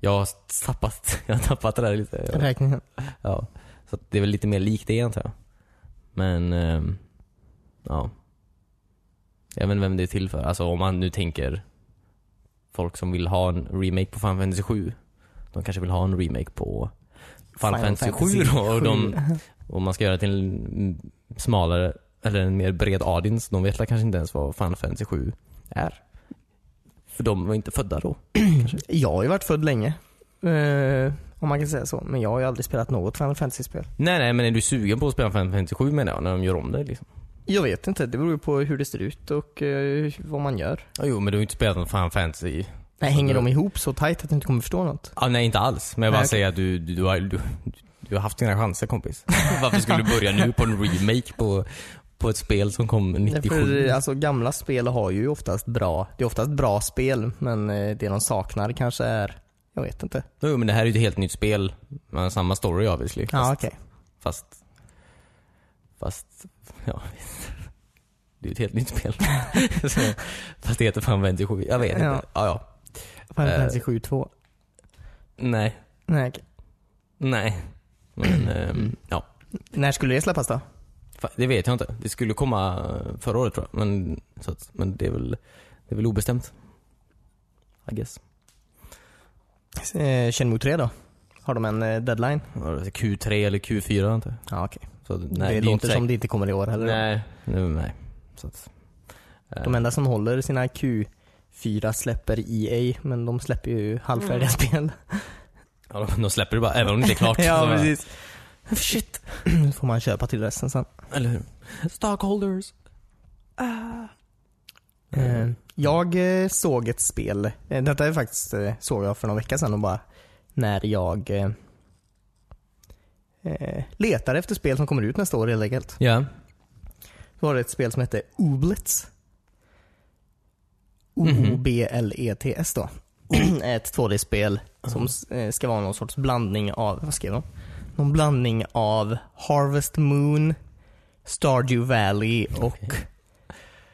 [SPEAKER 2] Jag har tappat, jag har tappat det där lite.
[SPEAKER 1] Räkningen.
[SPEAKER 2] Ja. Så att det är väl lite mer likt det antar jag. Men, ehm, ja. Jag vet inte vem det är till för. Alltså om man nu tänker folk som vill ha en remake på Final Fantasy 7. De kanske vill ha en remake på Final, Fantasy 7 då. Och, de, <laughs> och man ska göra det till en smalare, eller en mer bred audience. De vet väl kanske inte ens vad Final Fantasy 7 är. För de var inte födda då.
[SPEAKER 1] Jag har ju varit född länge. Eh, om man kan säga så. Men jag har ju aldrig spelat något Final Fantasy-spel.
[SPEAKER 2] Nej, nej, men är du sugen på att spela Final Fantasy 7 menar jag, när de gör om det liksom?
[SPEAKER 1] Jag vet inte. Det beror ju på hur det ser ut och eh, vad man gör.
[SPEAKER 2] Ja, jo, men du har ju inte spelat någon Final Fantasy.
[SPEAKER 1] Nej, hänger de ihop så tight att du inte kommer förstå något?
[SPEAKER 2] Ja, nej, inte alls. Men jag bara
[SPEAKER 1] Nej, okej.
[SPEAKER 2] säger att du, du, du, har, du, du har haft dina chanser <laughs> kompis. Varför skulle du börja nu på en remake på, på ett spel som kom 97?
[SPEAKER 1] Därför, alltså gamla spel har ju oftast bra, det är oftast bra spel men eh, det de saknar kanske är, jag vet inte.
[SPEAKER 2] Jo, men det här är ju ett helt nytt spel. Men samma story obviously.
[SPEAKER 1] Ja
[SPEAKER 2] Fast,
[SPEAKER 1] okej.
[SPEAKER 2] fast, fast, ja visst. Det är ju ett helt nytt
[SPEAKER 1] <laughs>
[SPEAKER 2] spel. Så, fast det heter Final Fantasy 7. Jag vet inte.
[SPEAKER 1] Ja.
[SPEAKER 2] Ja, ja.
[SPEAKER 1] Final
[SPEAKER 2] Eh.
[SPEAKER 1] Fantasy 7 2.
[SPEAKER 2] Nej,
[SPEAKER 1] Nej, okej.
[SPEAKER 2] nej. Men, ehm, ja.
[SPEAKER 1] När skulle det släppas då?
[SPEAKER 2] Fa- Det vet jag inte. Det skulle komma eh, förra året tror jag. Men, så att, men det, är väl, det är väl obestämt. I guess.
[SPEAKER 1] Eh, Shenmue 3 då? Har de en eh, deadline?
[SPEAKER 2] Ja, det är Q3 eller Q4 inte.
[SPEAKER 1] Ja okej.
[SPEAKER 2] Så, nej,
[SPEAKER 1] Det,
[SPEAKER 2] är
[SPEAKER 1] låter
[SPEAKER 2] inte
[SPEAKER 1] som
[SPEAKER 2] säkert.
[SPEAKER 1] det inte kommer i år heller. då.
[SPEAKER 2] Nej, nej. nej. Så att, eh,
[SPEAKER 1] De enda som håller sina Q4 släpper EA men de släpper ju halvfärdiga spel.
[SPEAKER 2] ja, de, de släpper det bara, även om det inte är
[SPEAKER 1] <laughs>
[SPEAKER 2] klart. Så bara,
[SPEAKER 1] Shit. <clears throat> Nu får man köpa till resten sen.
[SPEAKER 2] Eller hur? Stockholders. Mm.
[SPEAKER 1] Eh, Jag eh, såg ett spel, eh, detta är faktiskt eh, såg jag för någon vecka sedan och bara när jag eh, eh, letar efter spel som kommer ut nästa år helt enkelt.
[SPEAKER 2] Ja.
[SPEAKER 1] Då var det ett spel som hette Oblets.
[SPEAKER 2] Mhm.
[SPEAKER 1] O-B-L-E-T-S E då. <clears throat> ett 2D-spel som s- eh, ska vara någon sorts blandning av, vad skrev de? Någon blandning av Harvest Moon, Stardew Valley och
[SPEAKER 2] Okej.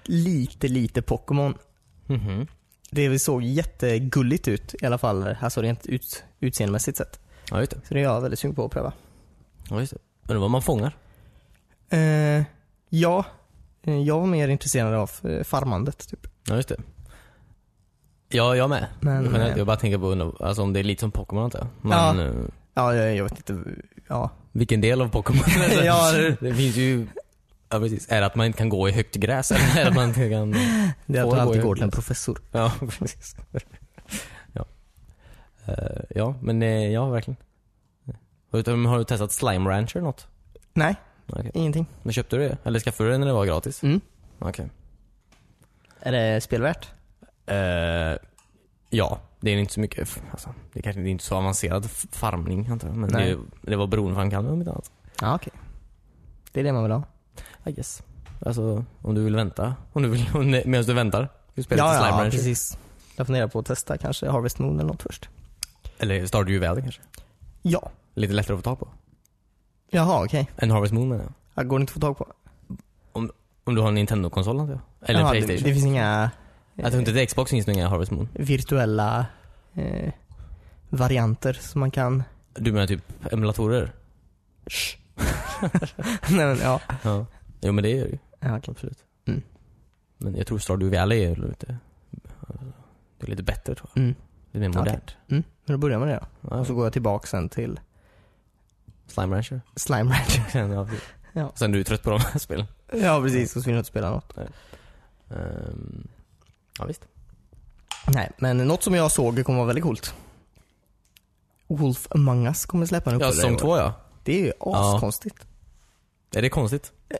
[SPEAKER 1] lite, lite Pokémon.
[SPEAKER 2] Mhm.
[SPEAKER 1] Det vi såg jättegulligt ut i alla fall, alltså rent ut, utseendemässigt sett.
[SPEAKER 2] Ja, just det.
[SPEAKER 1] Så det är jag väldigt sugen på att pröva.
[SPEAKER 2] Ja, just det. Undrar vad man fångar.
[SPEAKER 1] Eh, ja, eh, jag var mer intresserad av eh, farmandet typ.
[SPEAKER 2] Ja, just det. Ja, jag med.
[SPEAKER 1] Men,
[SPEAKER 2] jag,
[SPEAKER 1] eh,
[SPEAKER 2] jag bara tänker på undrar- alltså, om det är lite som Pokémon antar jag.
[SPEAKER 1] Ja.
[SPEAKER 2] Men, eh,
[SPEAKER 1] Ja, jag, jag vet inte. Ja.
[SPEAKER 2] Vilken del av Pokémon?
[SPEAKER 1] <laughs> Ja, det-
[SPEAKER 2] <laughs> det... finns ju... Ja precis. Är det att man inte kan gå i högt gräs eller är det att man inte kan...
[SPEAKER 1] Det är att du
[SPEAKER 2] Får gå
[SPEAKER 1] alltid
[SPEAKER 2] i
[SPEAKER 1] går till en
[SPEAKER 2] huvudet.
[SPEAKER 1] professor.
[SPEAKER 2] Ja <laughs> precis. Ja. Eh, ja men eh, ja verkligen. Har du, har du testat Slime Rancher något?
[SPEAKER 1] Nej,
[SPEAKER 2] Okej.
[SPEAKER 1] ingenting.
[SPEAKER 2] Men köpte du det? Eller skaffade du det när det var gratis?
[SPEAKER 1] Mm.
[SPEAKER 2] Okej.
[SPEAKER 1] Är det spelvärt?
[SPEAKER 2] Eh, ja, det är inte så mycket... f- Alltså, det kanske det är inte så avancerad f- farmning antar jag. Men
[SPEAKER 1] Nej.
[SPEAKER 2] det, det var beroendeframkallande om inte annat.
[SPEAKER 1] Ja, okej. Det är det man vill ha.
[SPEAKER 2] I guess. Alltså om du vill vänta. Om du vill, medan du väntar. Du spelar lite Slime
[SPEAKER 1] ja, ja,
[SPEAKER 2] Rancher.
[SPEAKER 1] precis. Jag funderar på att testa kanske Harvest Moon eller något först.
[SPEAKER 2] Eller Stardew Valley kanske?
[SPEAKER 1] Ja.
[SPEAKER 2] Lite lättare att få tag på.
[SPEAKER 1] Jaha, okej.
[SPEAKER 2] Än Harvest Moon menar jag.
[SPEAKER 1] Okay. Går det inte att få tag på?
[SPEAKER 2] Om du har en Nintendo-konsol antar jag. Eller en
[SPEAKER 1] Jaha,
[SPEAKER 2] Playstation.
[SPEAKER 1] Det, det finns inga
[SPEAKER 2] jag tror inte till Xbox finns det inga Harvest Moon.
[SPEAKER 1] virtuella eh, varianter som man kan...
[SPEAKER 2] Du menar typ emulatorer?
[SPEAKER 1] Shh. <laughs> Nej, men, ja.
[SPEAKER 2] Ja. Jo men det är det ju.
[SPEAKER 1] ja okej.
[SPEAKER 2] Absolut.
[SPEAKER 1] Mm.
[SPEAKER 2] Men jag tror Stardew Valley är lite... Det är lite bättre tror jag.
[SPEAKER 1] Mm.
[SPEAKER 2] Lite mer modernt.
[SPEAKER 1] Mm. Men då börjar man med det
[SPEAKER 2] Ja,
[SPEAKER 1] då. Och så
[SPEAKER 2] alltså,
[SPEAKER 1] går jag tillbaka sen till
[SPEAKER 2] Slime Rancher. <laughs>
[SPEAKER 1] Slime Rancher.
[SPEAKER 2] Sen, ja, precis.
[SPEAKER 1] Ja.
[SPEAKER 2] Sen du är trött på de här spelen.
[SPEAKER 1] <laughs> ja precis, och så vill jag inte spela något.
[SPEAKER 2] Ehm, ja visst.
[SPEAKER 1] Nej, men något som jag såg kommer vara väldigt coolt. Wolf Among Us kommer släppa en
[SPEAKER 2] Ja,
[SPEAKER 1] uppföljare i
[SPEAKER 2] säsong
[SPEAKER 1] år.
[SPEAKER 2] två ja.
[SPEAKER 1] Det är ju askonstigt.
[SPEAKER 2] Är det konstigt?
[SPEAKER 1] Eh,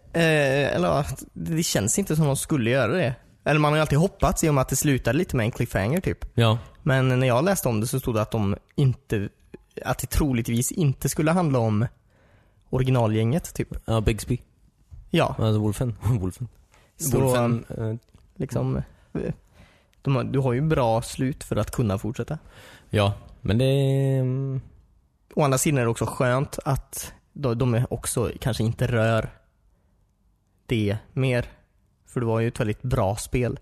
[SPEAKER 1] eller ja, det känns inte som de skulle göra det. Eller man har ju alltid hoppats i och med att det slutade lite med en cliffhanger typ.
[SPEAKER 2] Ja.
[SPEAKER 1] Men när jag läste om det så stod det att de inte, att det troligtvis inte skulle handla om originalgänget typ.
[SPEAKER 2] Ja, Bigsby.
[SPEAKER 1] Ja,
[SPEAKER 2] Alltså Wolfen. <laughs> Wolfen.
[SPEAKER 1] Så-
[SPEAKER 2] Wolfen. eh,
[SPEAKER 1] liksom. eh, De har, du har ju bra slut för att kunna fortsätta.
[SPEAKER 2] ja, men det... mm,
[SPEAKER 1] Å andra sidan är det också skönt att de de är också kanske inte rör det mer. För det var ju ett väldigt bra spel.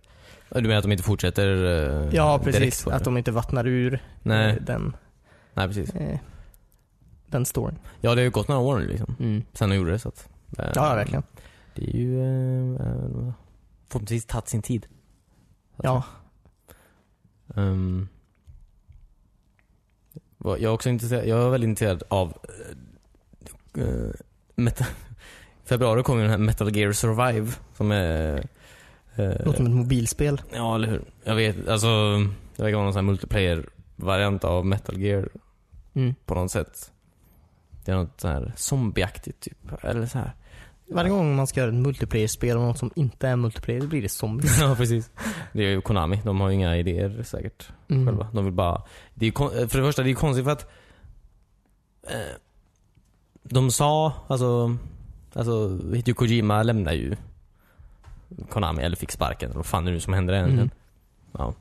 [SPEAKER 2] Du menar att de inte fortsätter eh,
[SPEAKER 1] Ja
[SPEAKER 2] direkt
[SPEAKER 1] precis,
[SPEAKER 2] på det?
[SPEAKER 1] att de inte vattnar ur eh,
[SPEAKER 2] Nej,
[SPEAKER 1] den.
[SPEAKER 2] nej precis.
[SPEAKER 1] eh, den storyn.
[SPEAKER 2] Ja, det har ju gått några år nu liksom.
[SPEAKER 1] Mm.
[SPEAKER 2] Sen de gjorde det så att. eh,
[SPEAKER 1] Ja, ja, verkligen.
[SPEAKER 2] Det är ju... eh, eh, Förhoppningsvis tagit sin tid.
[SPEAKER 1] Ja.
[SPEAKER 2] Ehm, vad- jag är också intresserad, jag är väldigt intresserad av eh, eh, meta, <laughs> I februari kommer den här Metal Gear Survive som är... eh,
[SPEAKER 1] Låter som ett mobilspel.
[SPEAKER 2] ja, eller hur. Jag vet, alltså det verkar vara någon sån här multiplayer-variant av Metal Gear
[SPEAKER 1] Mm.
[SPEAKER 2] på något sätt. Det är något så här zombieaktigt typ, eller så här.
[SPEAKER 1] Varje gång man ska göra ett multiplayer-spel och något som inte är multiplayer, då blir det zombies.
[SPEAKER 2] <laughs> ja, precis. Det är ju Konami, de har ju inga idéer säkert.
[SPEAKER 1] Mm.
[SPEAKER 2] själva. De vill bara... Det är, kon- eh, för det första, det är konstigt för att... Eh, de sa, alltså... Alltså, Hideo Kojima lämnar ju Konami, eller fick sparken, eller vad fan är det nu som hände egentligen?
[SPEAKER 1] Mm.
[SPEAKER 2] Ja.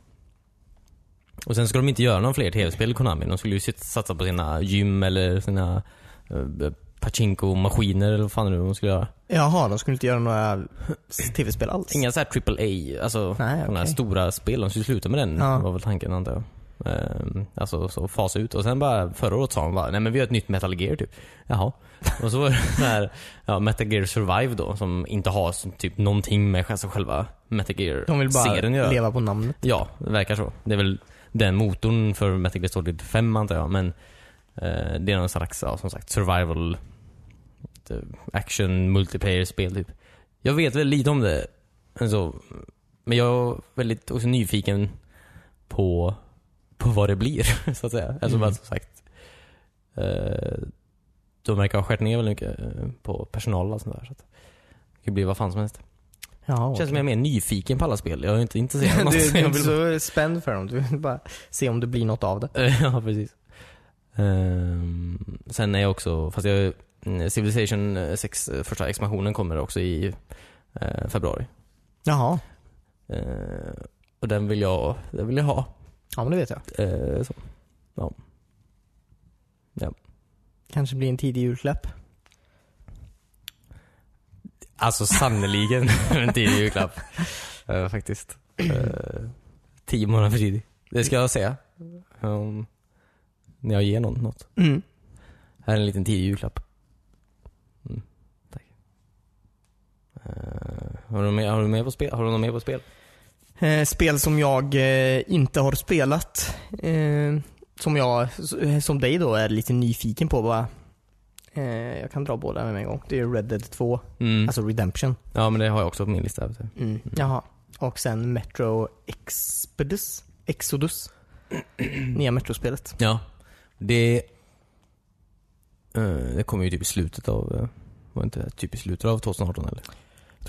[SPEAKER 2] Och sen ska de inte göra några fler tv-spel i Konami. De skulle ju sit- satsa på sina gym eller sina eh, Pachinko-maskiner eller vad fan är det nu de skulle göra.
[SPEAKER 1] Jaha, de skulle inte göra några tv-spel alls?
[SPEAKER 2] Inga så här AAA, alltså
[SPEAKER 1] Nej,
[SPEAKER 2] sådana här
[SPEAKER 1] okej.
[SPEAKER 2] stora spel. De skulle sluta med den
[SPEAKER 1] Ja.
[SPEAKER 2] var väl tanken antar jag. Ehm, alltså så fasa ut. Och sen bara förra året sa de bara, nej men vi har ett nytt Metal Gear typ. Jaha. <laughs> Och så var det så här, ja, Metal Gear Survive då som inte har så- typ någonting med alltså, själva Metal
[SPEAKER 1] De vill bara
[SPEAKER 2] Gear-serien att göra.
[SPEAKER 1] leva på namnet.
[SPEAKER 2] Ja, det verkar så. Det är väl den motorn för Metal Gear Solid 5 antar jag, men eh, det är någon slags, ja, som sagt, survival eh, action multiplayer-spel typ. Jag vet väl lite om det, alltså, men jag är väldigt också nyfiken på, på vad det blir, <laughs> så att säga. Alltså
[SPEAKER 1] Mm.
[SPEAKER 2] bara som sagt, eh, de verkar ha skärt ner väldigt mycket eh, på personal och sånt där. Så att det kan bli vad fan som helst.
[SPEAKER 1] Jaha,
[SPEAKER 2] Känns som jag är mer nyfiken på alla spel. Jag är
[SPEAKER 1] <laughs>
[SPEAKER 2] inte intresserad av
[SPEAKER 1] du,
[SPEAKER 2] något.
[SPEAKER 1] du är
[SPEAKER 2] Jag
[SPEAKER 1] inte
[SPEAKER 2] vill-
[SPEAKER 1] så spänd för dem. Du vill bara se om det blir något av det.
[SPEAKER 2] Eh, <laughs> ja, precis. Ehm, sen är jag också, fast jag, mm, Civilization 6, första expansionen kommer också i eh, februari.
[SPEAKER 1] Jaha.
[SPEAKER 2] Eh, och den vill jag, den vill jag ha.
[SPEAKER 1] Ja, men det vet jag.
[SPEAKER 2] Eh, så.
[SPEAKER 1] Kanske blir en tidig julklapp.
[SPEAKER 2] Alltså sannerligen <laughs> en tidig julklapp. <laughs> Eh, faktiskt. Eh, tio månader för tidig. Det ska jag säga. Ehm, när jag ger någon något.
[SPEAKER 1] Mm.
[SPEAKER 2] Här är en liten tidig julklapp. Mm, tack. Eh, har, du med, har, du med på spel? har du något mer på spel?
[SPEAKER 1] Eh, spel som jag eh, inte har spelat. Eh, som jag, s- eh, som dig då, är lite nyfiken på bara. Eh, jag kan dra båda med mig en gång. Det är Red Dead 2,
[SPEAKER 2] Mm.
[SPEAKER 1] alltså Redemption.
[SPEAKER 2] Ja men det har jag också på min lista. vet du.
[SPEAKER 1] Mm. Jaha. Och sen Metro Exodus. <clears throat> Exodus. Nya Metro-spelet.
[SPEAKER 2] Ja. Det, eh, det kommer ju typ i slutet av, eh, var inte det typ i slutet av 2018 eller? Tror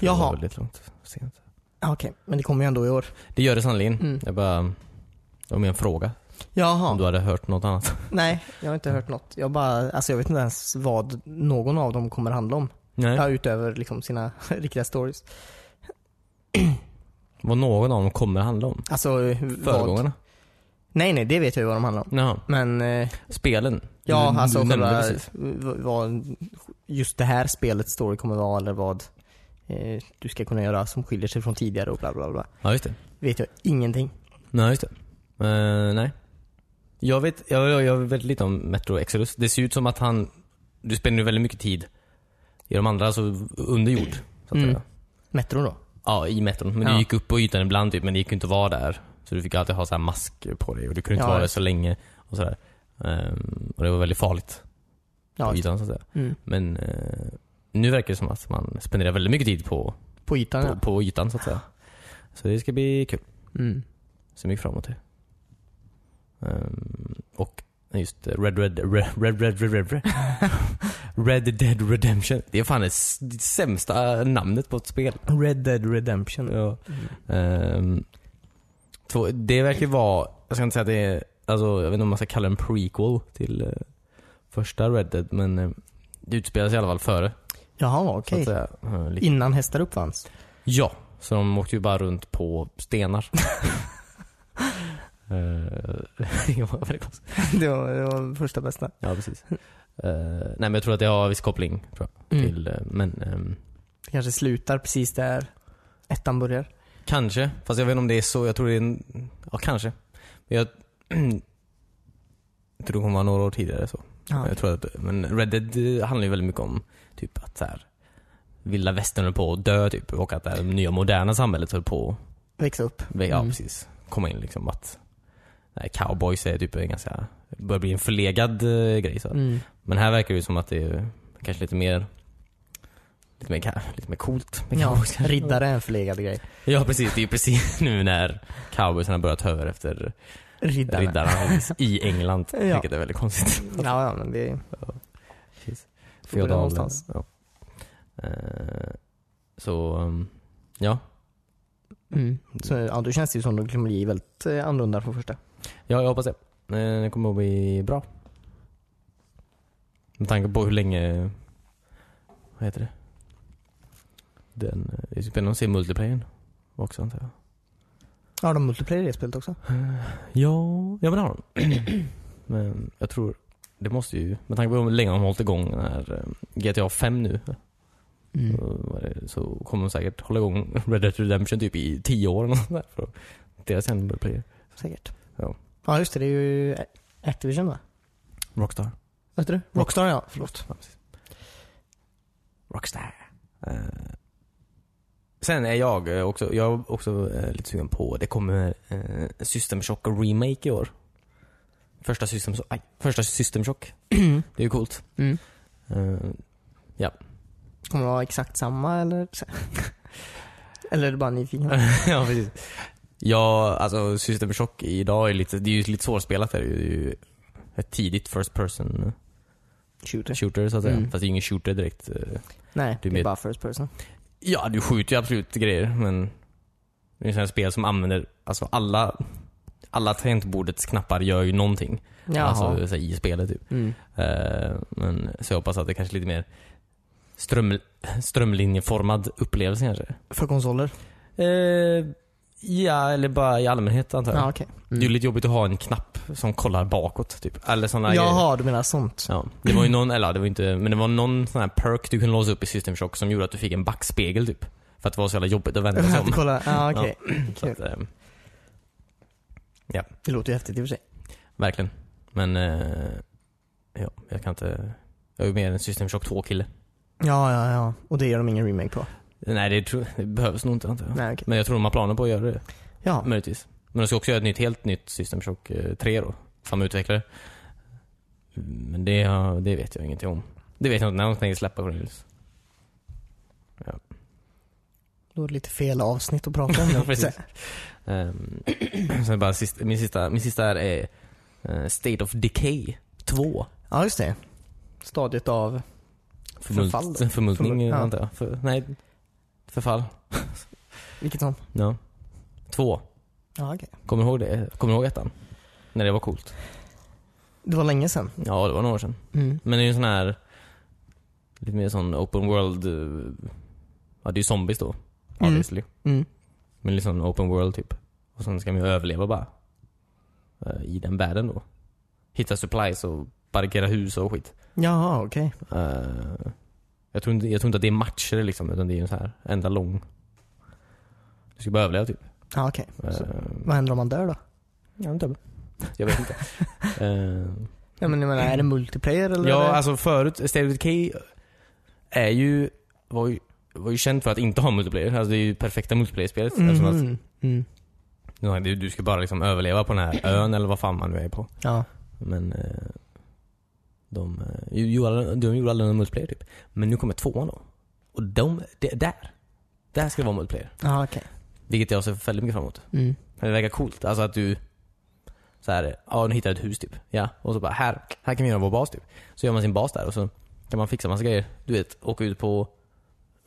[SPEAKER 2] jag
[SPEAKER 1] Jaha.
[SPEAKER 2] det var Väldigt långt sent.
[SPEAKER 1] Ah, Okej, men det kommer ju ändå i år.
[SPEAKER 2] Det gör det sannerligen.
[SPEAKER 1] Mm.
[SPEAKER 2] Jag bara, det var mer en fråga.
[SPEAKER 1] Jaha.
[SPEAKER 2] Om du hade hört
[SPEAKER 1] <laughs>
[SPEAKER 2] något annat.
[SPEAKER 1] Nej, jag har inte hört något. Jag bara, alltså jag vet inte ens vad någon av dem kommer handla om.
[SPEAKER 2] Nej.
[SPEAKER 1] Ja, utöver liksom sina <laughs> riktiga stories.
[SPEAKER 2] <laughs> Vad någon av dem kommer handla om.
[SPEAKER 1] Alltså, hu- vad...
[SPEAKER 2] Föregångarna.
[SPEAKER 1] Nej, nej, det vet jag ju vad de handlar om.
[SPEAKER 2] Jaha.
[SPEAKER 1] Men, eh,
[SPEAKER 2] Spelen.
[SPEAKER 1] ja,
[SPEAKER 2] Du- du
[SPEAKER 1] alltså
[SPEAKER 2] nämnde
[SPEAKER 1] själva,
[SPEAKER 2] precis.
[SPEAKER 1] v- vad just det här spelets story kommer vara eller vad eh, du ska kunna göra som skiljer sig från tidigare och bla bla bla.
[SPEAKER 2] Ja just det.
[SPEAKER 1] Vet jag ingenting.
[SPEAKER 2] Nej, just det. Eh, nej. Jag vet, jag, jag vet lite om Metro Exodus. Det ser ut som att han... Du spenderar ju väldigt mycket tid i de andra, alltså under jord. Så att
[SPEAKER 1] Mm.
[SPEAKER 2] säga.
[SPEAKER 1] Metro då?
[SPEAKER 2] Ja, i metron. Men
[SPEAKER 1] Ja.
[SPEAKER 2] du gick upp på ytan ibland typ, men det gick ju inte att vara där. Så du fick alltid ha så här mask på dig och du kunde inte
[SPEAKER 1] Ja,
[SPEAKER 2] vara där
[SPEAKER 1] just
[SPEAKER 2] så länge. Och, så där. Ehm, och det var väldigt farligt
[SPEAKER 1] Ja,
[SPEAKER 2] på ytan så att säga.
[SPEAKER 1] mm.
[SPEAKER 2] Men eh, nu verkar det som att man spenderar väldigt mycket tid på,
[SPEAKER 1] på ytan
[SPEAKER 2] på, på ytan så att säga. Så det ska bli kul.
[SPEAKER 1] ja. Mm.
[SPEAKER 2] Ser mycket fram emot det. Ehm, och just eh, Red Red Red Red Red
[SPEAKER 1] <laughs>
[SPEAKER 2] Red Red Red, Red Dead Redemption. Det är fan det s- det sämsta namnet på ett spel.
[SPEAKER 1] Red Dead Redemption.
[SPEAKER 2] Ja. Ehm, två, det verkar vara, jag ska inte säga att det är, alltså, jag vet inte om man ska kalla det en prequel till eh, första Red Dead men eh, det utspelar sig i alla fall före.
[SPEAKER 1] Jaha,
[SPEAKER 2] Så
[SPEAKER 1] okej.
[SPEAKER 2] att säga. Eh, lite.
[SPEAKER 1] Innan hästar
[SPEAKER 2] <laughs>
[SPEAKER 1] uppfanns?
[SPEAKER 2] Ja, så de åkte ju bara runt på stenar. Eh, <laughs> det var väldigt konstigt.
[SPEAKER 1] det, var, det var första bästa.
[SPEAKER 2] Ja, precis. Eh, nej, men jag tror att det har viss koppling. Tror jag,
[SPEAKER 1] Mm.
[SPEAKER 2] till, eh, men ehm,
[SPEAKER 1] Det kanske slutar precis där ettan börjar.
[SPEAKER 2] kanske. Fast jag vet inte om det är så. Jag tror det är <clears throat> en, Ja, kanske. Men jag, jag tror det kommer vara några år tidigare. så.
[SPEAKER 1] Ja.
[SPEAKER 2] Jag tror att, men Red Dead eh, handlar ju väldigt mycket om typ att så här, vilda västern höll på att dö typ och att det här nya moderna samhället höll på
[SPEAKER 1] Växa upp.
[SPEAKER 2] att ja,
[SPEAKER 1] Mm.
[SPEAKER 2] precis, komma in liksom att nej, cowboys är typ en ganska, börjar bli en förlegad eh, grej. Så.
[SPEAKER 1] Mm.
[SPEAKER 2] Men här verkar det ju som att det är kanske lite mer Lite mer, ka- lite mer coolt med
[SPEAKER 1] Ja,
[SPEAKER 2] cowboys kanske.
[SPEAKER 1] <laughs> riddare är en förlegad grej.
[SPEAKER 2] Ja precis, det är ju precis <laughs> nu när cowboysen har börjat ta över efter
[SPEAKER 1] Riddarna.
[SPEAKER 2] riddarna
[SPEAKER 1] <laughs>
[SPEAKER 2] i England.
[SPEAKER 1] Ja.
[SPEAKER 2] Vilket är väldigt konstigt.
[SPEAKER 1] Ja, ja, men det är... Får börja
[SPEAKER 2] Feodal-
[SPEAKER 1] någonstans.
[SPEAKER 2] Ja. Eh, så, um, ja.
[SPEAKER 1] Mm. Så, ja, då känns det ju som att det kommer bli väldigt eh, annorlunda från första.
[SPEAKER 2] ja, jag hoppas det. Eh, det kommer att bli bra. Med tanke på hur länge, vad heter det? Den, eh, det är spännande att se multiplayern också antar jag.
[SPEAKER 1] Ja, de multiplayer i det spelet också.
[SPEAKER 2] Ja, ja men det har de. <clears throat> men jag tror, det måste ju, med tanke på hur länge de har hållit igång den här eh, GTA 5 nu.
[SPEAKER 1] Mm.
[SPEAKER 2] så var det- Så kommer de säkert hålla igång <laughs> Red Dead Redemption typ i 10 år eller något sånt där. För att deras sen börjar bli
[SPEAKER 1] Säkert.
[SPEAKER 2] Ja.
[SPEAKER 1] ja, just det. Det är ju Activision va?
[SPEAKER 2] Rockstar.
[SPEAKER 1] Vad heter det? Rockstar ja, förlåt. <clears throat>
[SPEAKER 2] Ja, precis. Rockstar. Eh, Sen är jag eh, också, jag är också eh, lite sugen på, det kommer eh, System Shock Remake i år. Första System, Shock- aj, första System Shock. Det är ju coolt.
[SPEAKER 1] Mm.
[SPEAKER 2] Eh, <laughs>
[SPEAKER 1] Kommer det vara exakt samma eller? <laughs> eller är det bara nyfiken?
[SPEAKER 2] ja, precis. Ja, alltså System Shock idag är lite, det är ju lite svårspelat. här. Det är ju ett tidigt first person
[SPEAKER 1] Shooter?
[SPEAKER 2] shooter så att säga.
[SPEAKER 1] Mm.
[SPEAKER 2] Fast det är ju ingen shooter direkt. eh.
[SPEAKER 1] Nej,
[SPEAKER 2] Du
[SPEAKER 1] det är
[SPEAKER 2] med-
[SPEAKER 1] bara first person.
[SPEAKER 2] Ja, du skjuter ju absolut grejer men det är ju sådana spel som använder, alltså alla, alla tangentbordets knappar gör ju någonting.
[SPEAKER 1] Jaha.
[SPEAKER 2] Alltså så här, i spelet typ.
[SPEAKER 1] mm.
[SPEAKER 2] Eh, men så jag hoppas att det kanske är lite mer ström, strömlinjeformad upplevelse kanske.
[SPEAKER 1] För konsoler?
[SPEAKER 2] Eh, ja, eller bara i allmänhet antar jag.
[SPEAKER 1] Ja, okej. Mm.
[SPEAKER 2] Det är ju lite jobbigt att ha en knapp som kollar bakåt typ. Eller såna grejer.
[SPEAKER 1] Jaha, du menar sånt?
[SPEAKER 2] Ja. Det var ju någon, eller ja, det var inte, men det var någon sån här perk du kunde låsa upp i System Shock som gjorde att du fick en backspegel typ. För att det var så jävla jobbigt att vända sig
[SPEAKER 1] Jag <laughs>
[SPEAKER 2] om.
[SPEAKER 1] måste kolla. Ja, okej.
[SPEAKER 2] Så att, eh,
[SPEAKER 1] Det låter ju häftigt i och för sig.
[SPEAKER 2] verkligen. Men, eh, ja, jag kan inte, jag är ju mer en System Shock 2-kille.
[SPEAKER 1] Ja, ja, ja. Och det gör de ingen remake på?
[SPEAKER 2] Nej, det, tror- det behövs nog inte antar jag.
[SPEAKER 1] Nej, okej.
[SPEAKER 2] Men jag tror de har planer på att göra det.
[SPEAKER 1] Ja.
[SPEAKER 2] Möjligtvis. Men de ska också göra ett nytt, helt nytt System Shock eh, 3 då. Samma utvecklare. Men det, har- det vet jag ingenting om. Det vet jag inte när de tänker
[SPEAKER 1] <laughs>
[SPEAKER 2] släppa Cornelius.
[SPEAKER 1] Då är det lite fel avsnitt att prata om.
[SPEAKER 2] <laughs> Ja, precis. <clears throat> Um, sen bara sist, min, sista, min sista här är eh, State of Decay 2.
[SPEAKER 1] Ja, just det. Stadiet av... Förfall då?
[SPEAKER 2] förmultning
[SPEAKER 1] Förmul- ja.
[SPEAKER 2] antar jag. För, nej, förfall.
[SPEAKER 1] Vilket som?
[SPEAKER 2] Ja. Två.
[SPEAKER 1] Ja, okej.
[SPEAKER 2] Kommer du ihåg det? Kommer du ihåg ettan? När det var coolt?
[SPEAKER 1] Det var länge sedan.
[SPEAKER 2] Ja, det var några år sedan.
[SPEAKER 1] Mm.
[SPEAKER 2] Men det är ju en sån här Lite mer sån open world eh, Ja det är ju zombies då
[SPEAKER 1] Mm.
[SPEAKER 2] obviously
[SPEAKER 1] Mm.
[SPEAKER 2] Men liksom open world typ Och sen ska man ju överleva bara eh, I den världen då Hitta supplies och barrikera hus och skit
[SPEAKER 1] Jaha, okej.
[SPEAKER 2] Eh, jag, tror inte, jag tror inte att det är matcher liksom utan det är ju en sån här enda lång Du ska bara överleva typ
[SPEAKER 1] Ja, okej. Så,
[SPEAKER 2] Eh,
[SPEAKER 1] Vad händer om man dör då?
[SPEAKER 2] Ja, men typ. Jag vet <laughs> inte Eh,
[SPEAKER 1] Ja, men jag menar, är det multiplayer eller? är
[SPEAKER 2] Ja,
[SPEAKER 1] det...
[SPEAKER 2] alltså förut, State of Decay är ju, var ju, var ju känt för att inte ha multiplayer. Alltså det är ju perfekta multiplayer-spelet. Eftersom att,
[SPEAKER 1] Mhm. Mm.
[SPEAKER 2] nej, du- du ska bara liksom överleva på den här ön eller vad fan man nu är på.
[SPEAKER 1] Ja.
[SPEAKER 2] Men eh, de, eh, ju- gjorde aldrig- de gjorde aldrig någon multiplayer typ. Men nu kommer tvåan då. Och de, det- där. Där ska det vara multiplayer.
[SPEAKER 1] Ja, okej.
[SPEAKER 2] Vilket jag ser väldigt mycket fram emot.
[SPEAKER 1] Mm.
[SPEAKER 2] Men Det verkar coolt. Alltså att du så här, ja nu hittar jag ett hus typ. Ja, och så bara här, här kan vi göra vår bas typ. Så gör man sin bas där och så kan man fixa massa grejer. Du vet, åka ut på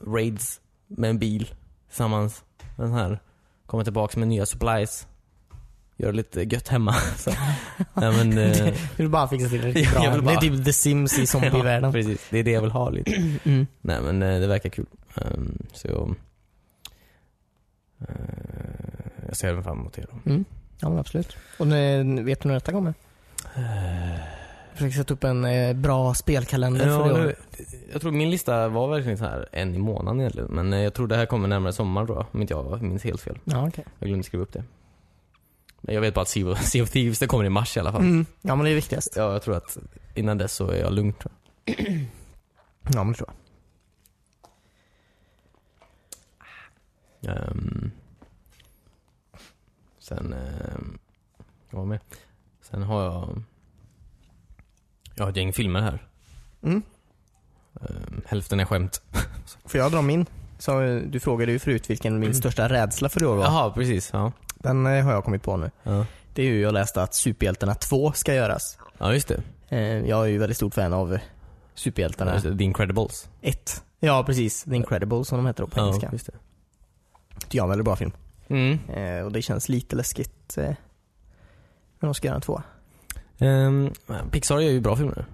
[SPEAKER 2] raids med en bil tillsammans. Med den här. Komma tillbaks med nya supplies. Göra lite gött hemma. <laughs> Så. Nej, men, eh,
[SPEAKER 1] Jag vill bara fixa till
[SPEAKER 2] <laughs>
[SPEAKER 1] det
[SPEAKER 2] Jag
[SPEAKER 1] riktigt bra.
[SPEAKER 2] vill bara-
[SPEAKER 1] Det är typ The Sims i
[SPEAKER 2] <laughs> ja,
[SPEAKER 1] zombievärlden.
[SPEAKER 2] precis. Det är det jag vill ha lite.
[SPEAKER 1] Mm.
[SPEAKER 2] Nej men eh, det verkar kul. Ehm, så eh, jag ser fram emot det då.
[SPEAKER 1] Mm. Ja men absolut. Och nu, vet du när detta kommer? Försöker sätta upp en eh, bra spelkalender
[SPEAKER 2] Ja,
[SPEAKER 1] för i år.
[SPEAKER 2] nu, jag tror min lista var verkligen så här en i månaden egentligen. Men eh, jag tror det här kommer närmare sommar då, om inte jag minns helt fel.
[SPEAKER 1] Ja, okej.
[SPEAKER 2] Jag glömde skriva upp det. <laughs> Men jag vet bara att Sea of, sea of Thieves det kommer i mars i alla fall.
[SPEAKER 1] Mm. Ja men det är viktigast.
[SPEAKER 2] Ja, jag tror att innan dess så är jag lugn tror jag.
[SPEAKER 1] Ja, men det tror jag.
[SPEAKER 2] Ehm, sen, ehm, jag var med. Sen har jag, jag har ett gäng filmer här.
[SPEAKER 1] Mm.
[SPEAKER 2] Ehm, hälften är skämt.
[SPEAKER 1] Får jag dra min? Så, eh, du frågade ju förut vilken min största rädsla för i år var.
[SPEAKER 2] Jaha, precis. Mm. Ja.
[SPEAKER 1] Den eh, har jag kommit på nu.
[SPEAKER 2] Ja.
[SPEAKER 1] Det är ju jag läste att Superhjältarna 2 ska göras.
[SPEAKER 2] ja, just det.
[SPEAKER 1] Eh, Jag är ju väldigt stort fan av eh, Superhjältarna
[SPEAKER 2] Just det. The Incredibles.
[SPEAKER 1] 1. Ja precis, The Incredibles som de heter då på engelska.
[SPEAKER 2] Ja, just det.
[SPEAKER 1] Tycker jag är en väldigt bra film.
[SPEAKER 2] Mm.
[SPEAKER 1] Eh, Och det känns lite läskigt eh, när de ska göra en tvåa.
[SPEAKER 2] Ehm, Pixar gör ju bra filmer.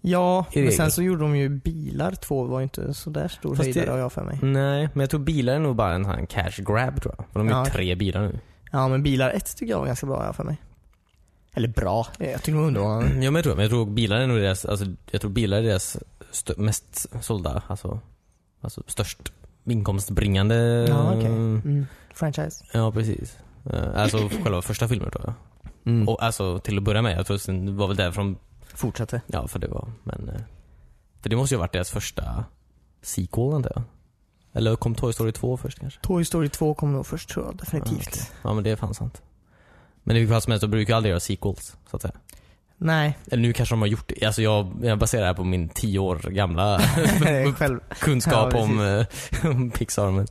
[SPEAKER 1] Ja,
[SPEAKER 2] I
[SPEAKER 1] men
[SPEAKER 2] regel.
[SPEAKER 1] sen så gjorde de ju bilar två, var ju inte så där stor
[SPEAKER 2] Fast
[SPEAKER 1] höjdare
[SPEAKER 2] det-
[SPEAKER 1] har jag för mig.
[SPEAKER 2] Nej, men jag tror bilar är nog bara en sån här cash grab tror jag. För de är
[SPEAKER 1] Ja.
[SPEAKER 2] ju tre bilar nu.
[SPEAKER 1] Ja men bilar 1 tycker jag var ganska bra har jag för mig. Eller bra, Eh, jag tycker de var
[SPEAKER 2] <clears throat>
[SPEAKER 1] underhållande.
[SPEAKER 2] Ja men jag tror men jag tror bilar är nog deras, alltså, jag tror bilar är deras stö- mest sålda, alltså, alltså störst inkomstbringande. ehm,
[SPEAKER 1] Ja okej. Mm. Franchise.
[SPEAKER 2] Ja, precis. Eh, Alltså själva första filmen tror jag.
[SPEAKER 1] Mm.
[SPEAKER 2] Och alltså till att börja med, jag tror sen det var väl därifrån,
[SPEAKER 1] Fortsatte.
[SPEAKER 2] ja för det var, men eh, För det måste ju ha varit deras första sequel antar jag. Eller kom Toy Story 2 först kanske?
[SPEAKER 1] Toy Story 2 kom nog först tror jag definitivt.
[SPEAKER 2] Ja men det är fan sant. Men i vilket fall som helst, de brukar ju aldrig göra sequels, så att säga.
[SPEAKER 1] <laughs> Nej,
[SPEAKER 2] Eller nu kanske de har gjort det. Alltså jag, jag baserar det här på min tio år <laughs> gamla
[SPEAKER 1] <laughs> själv.
[SPEAKER 2] kunskap
[SPEAKER 1] Ja,
[SPEAKER 2] om, eh, <laughs> om Pixar. Men,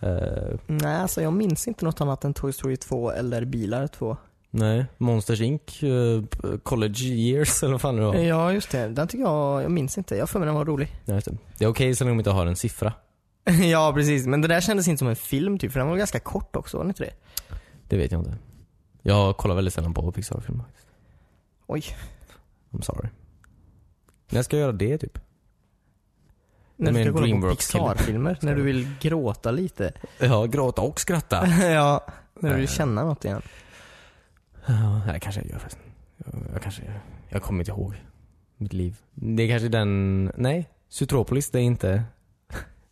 [SPEAKER 2] eh,
[SPEAKER 1] Nej, alltså jag minns inte något annat än Toy Story 2 eller Bilar 2.
[SPEAKER 2] nej, Monsters Inc. eh, college years eller vad fan det var.
[SPEAKER 1] Ja, just det. Den tycker jag, jag minns inte. Jag har för mig den var rolig.
[SPEAKER 2] Nej, just det. det är okej så länge de inte har en siffra.
[SPEAKER 1] <laughs> ja, precis. Men det där kändes inte som en film typ, för den var ganska kort också, var den inte det?
[SPEAKER 2] Det vet jag inte. Jag kollar väldigt sällan på Pixar-filmer. faktiskt.
[SPEAKER 1] Oj.
[SPEAKER 2] I'm sorry. När ska jag göra det typ?
[SPEAKER 1] När du
[SPEAKER 2] Men
[SPEAKER 1] ska kolla på
[SPEAKER 2] Dreamworks-film.
[SPEAKER 1] Pixar-filmer, när du vill gråta lite.
[SPEAKER 2] Ja, gråta och skratta.
[SPEAKER 1] <laughs> ja, när du
[SPEAKER 2] Nej.
[SPEAKER 1] vill känna något igen.
[SPEAKER 2] Ja, nej, kanske jag gör förresten. Jag, jag kanske gör. Jag kommer inte ihåg mitt liv. Det är kanske den... Nej. Sutropolis, det är inte...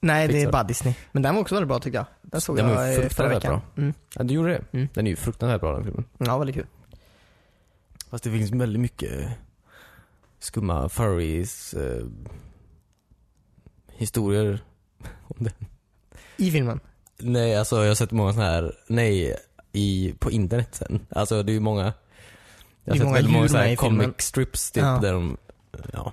[SPEAKER 1] Nej, det är
[SPEAKER 2] Pixar.
[SPEAKER 1] bara Disney. Men den var också väldigt bra tyckte jag. Den såg
[SPEAKER 2] Den var ju
[SPEAKER 1] jag eh, förra
[SPEAKER 2] fruktansvärt
[SPEAKER 1] veckan. Mm.
[SPEAKER 2] Ja, du gjorde det?
[SPEAKER 1] Mm.
[SPEAKER 2] Den är ju fruktansvärt bra den filmen.
[SPEAKER 1] Ja, väldigt kul.
[SPEAKER 2] Fast det finns väldigt mycket skumma furries eh, historier.
[SPEAKER 1] I filmen.
[SPEAKER 2] Nej, alltså jag har sett många sådana här, nej, i, på internet sen. Alltså det är ju många, jag
[SPEAKER 1] Det är
[SPEAKER 2] har sett
[SPEAKER 1] många
[SPEAKER 2] väldigt många
[SPEAKER 1] djur
[SPEAKER 2] sådana
[SPEAKER 1] med
[SPEAKER 2] här
[SPEAKER 1] i filmen.
[SPEAKER 2] comic strips typ
[SPEAKER 1] Ja.
[SPEAKER 2] där de, ja.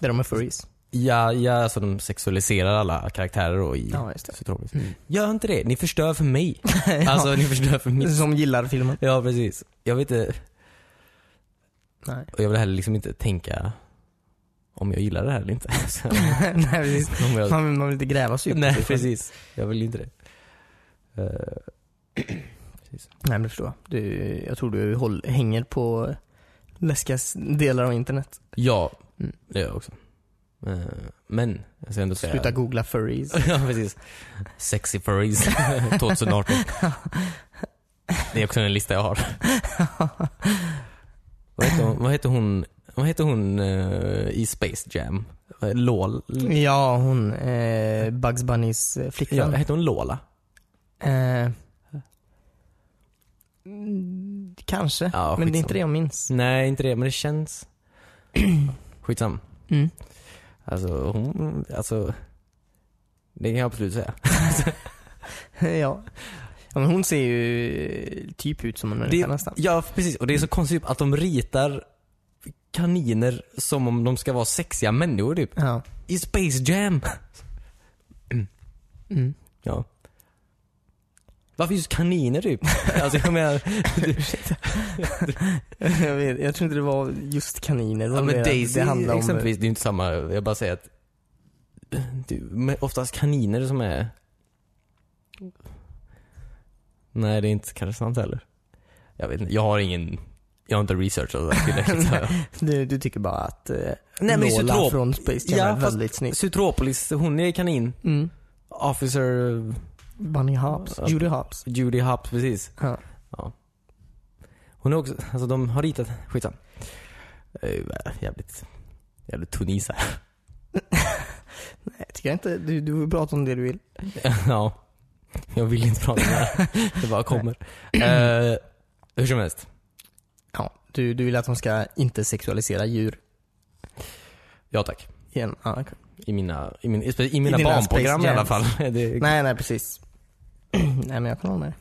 [SPEAKER 1] Där de är furries.
[SPEAKER 2] Ja, ja, alltså de sexualiserar alla karaktärer då i
[SPEAKER 1] Ja,
[SPEAKER 2] <laughs>
[SPEAKER 1] just det.
[SPEAKER 2] Citropolis. Typ. Gör inte det, ni förstör för <laughs> mig.
[SPEAKER 1] Ja. <laughs>
[SPEAKER 2] Alltså ni förstör för mig.
[SPEAKER 1] Som gillar filmen.
[SPEAKER 2] Ja precis. Jag vet inte,
[SPEAKER 1] Nej. <laughs>
[SPEAKER 2] och jag vill heller liksom inte tänka om jag gillar det här eller inte. Så,
[SPEAKER 1] Nej, precis.
[SPEAKER 2] <laughs> om jag,
[SPEAKER 1] Man vill, man vill inte gräva sig djupt.
[SPEAKER 2] nej precis, jag vill inte det. Eh,
[SPEAKER 1] Nej men det förstår jag. Du, jag tror du håll, hänger på läskiga s- delar av internet.
[SPEAKER 2] Ja,
[SPEAKER 1] Mm.
[SPEAKER 2] det gör jag också. Eh, Men, jag ska ändå säga...
[SPEAKER 1] Sluta googla furries.
[SPEAKER 2] ja, precis. Sexy furries <laughs> 2018. det är också en lista jag har. vad, heter hon, vad heter hon, vad heter hon eh, i Space Jam? Eh, Lol...
[SPEAKER 1] Ja hon, eh, Bugs Bunnys eh,
[SPEAKER 2] Ja,
[SPEAKER 1] flickvän.
[SPEAKER 2] heter hon Lola?
[SPEAKER 1] Eh, mm, kanske,
[SPEAKER 2] Ja,
[SPEAKER 1] men det
[SPEAKER 2] skitsamma.
[SPEAKER 1] är inte det jag minns.
[SPEAKER 2] Nej, inte det, men det känns... <clears throat> Skitsam.
[SPEAKER 1] Mm.
[SPEAKER 2] Alltså, hon... Alltså... Det kan jag absolut säga.
[SPEAKER 1] ja. <laughs>
[SPEAKER 2] Mm.
[SPEAKER 1] ja men hon ser ju eh, typ ut som en människa nästan.
[SPEAKER 2] Ja, precis. Och det är så konstigt typ att de ritar kaniner som om de ska vara sexiga människor typ.
[SPEAKER 1] Ja. <laughs>
[SPEAKER 2] I Space Jam!
[SPEAKER 1] Mm.
[SPEAKER 2] Ja. Varför just kaniner <laughs> typ? alltså jag menar...
[SPEAKER 1] jag, vet, jag tror inte det var just kaniner som
[SPEAKER 2] ja, men
[SPEAKER 1] det,
[SPEAKER 2] Daisy
[SPEAKER 1] det handlade om.
[SPEAKER 2] exempelvis, det är ju inte samma. Jag bara säger att... Du, men oftast kaniner som är... Nej, det är inte kanske sant heller. Jag vet inte, jag har ingen... Jag har inte researchat det här tillräckligt. så jag-
[SPEAKER 1] eh, Du, du tycker bara att eh,
[SPEAKER 2] <laughs> Nej, men
[SPEAKER 1] Lola
[SPEAKER 2] Zoetrop-
[SPEAKER 1] från Space Jam
[SPEAKER 2] Ja,
[SPEAKER 1] är
[SPEAKER 2] fast-
[SPEAKER 1] väldigt snygg.
[SPEAKER 2] Sutropolis, hon är kanin.
[SPEAKER 1] Mm.
[SPEAKER 2] Officer
[SPEAKER 1] Bunny Hops,
[SPEAKER 2] Ja.
[SPEAKER 1] Judy Hops.
[SPEAKER 2] Judy Hopps, precis.
[SPEAKER 1] Ja.
[SPEAKER 2] Hon är också, alltså de har ritat, skitsam. Det är ju bara Jävligt, jävligt tunnis här. <laughs>
[SPEAKER 1] Nej, tycker jag inte. Du, du vill prata om det du vill.
[SPEAKER 2] ja. Jag vill inte prata om det här. Det bara kommer. Eh, hur som helst.
[SPEAKER 1] Ja, Du, du vill att de ska inte sexualisera djur?
[SPEAKER 2] Ja tack.
[SPEAKER 1] Igen. Ja, okej.
[SPEAKER 2] I mina, i min, i mina
[SPEAKER 1] I dina
[SPEAKER 2] barnprogram
[SPEAKER 1] Space
[SPEAKER 2] i alla fall. <laughs>
[SPEAKER 1] Jams.
[SPEAKER 2] Det,
[SPEAKER 1] Nej, nej precis. <clears throat> nej men jag kan hålla med dig.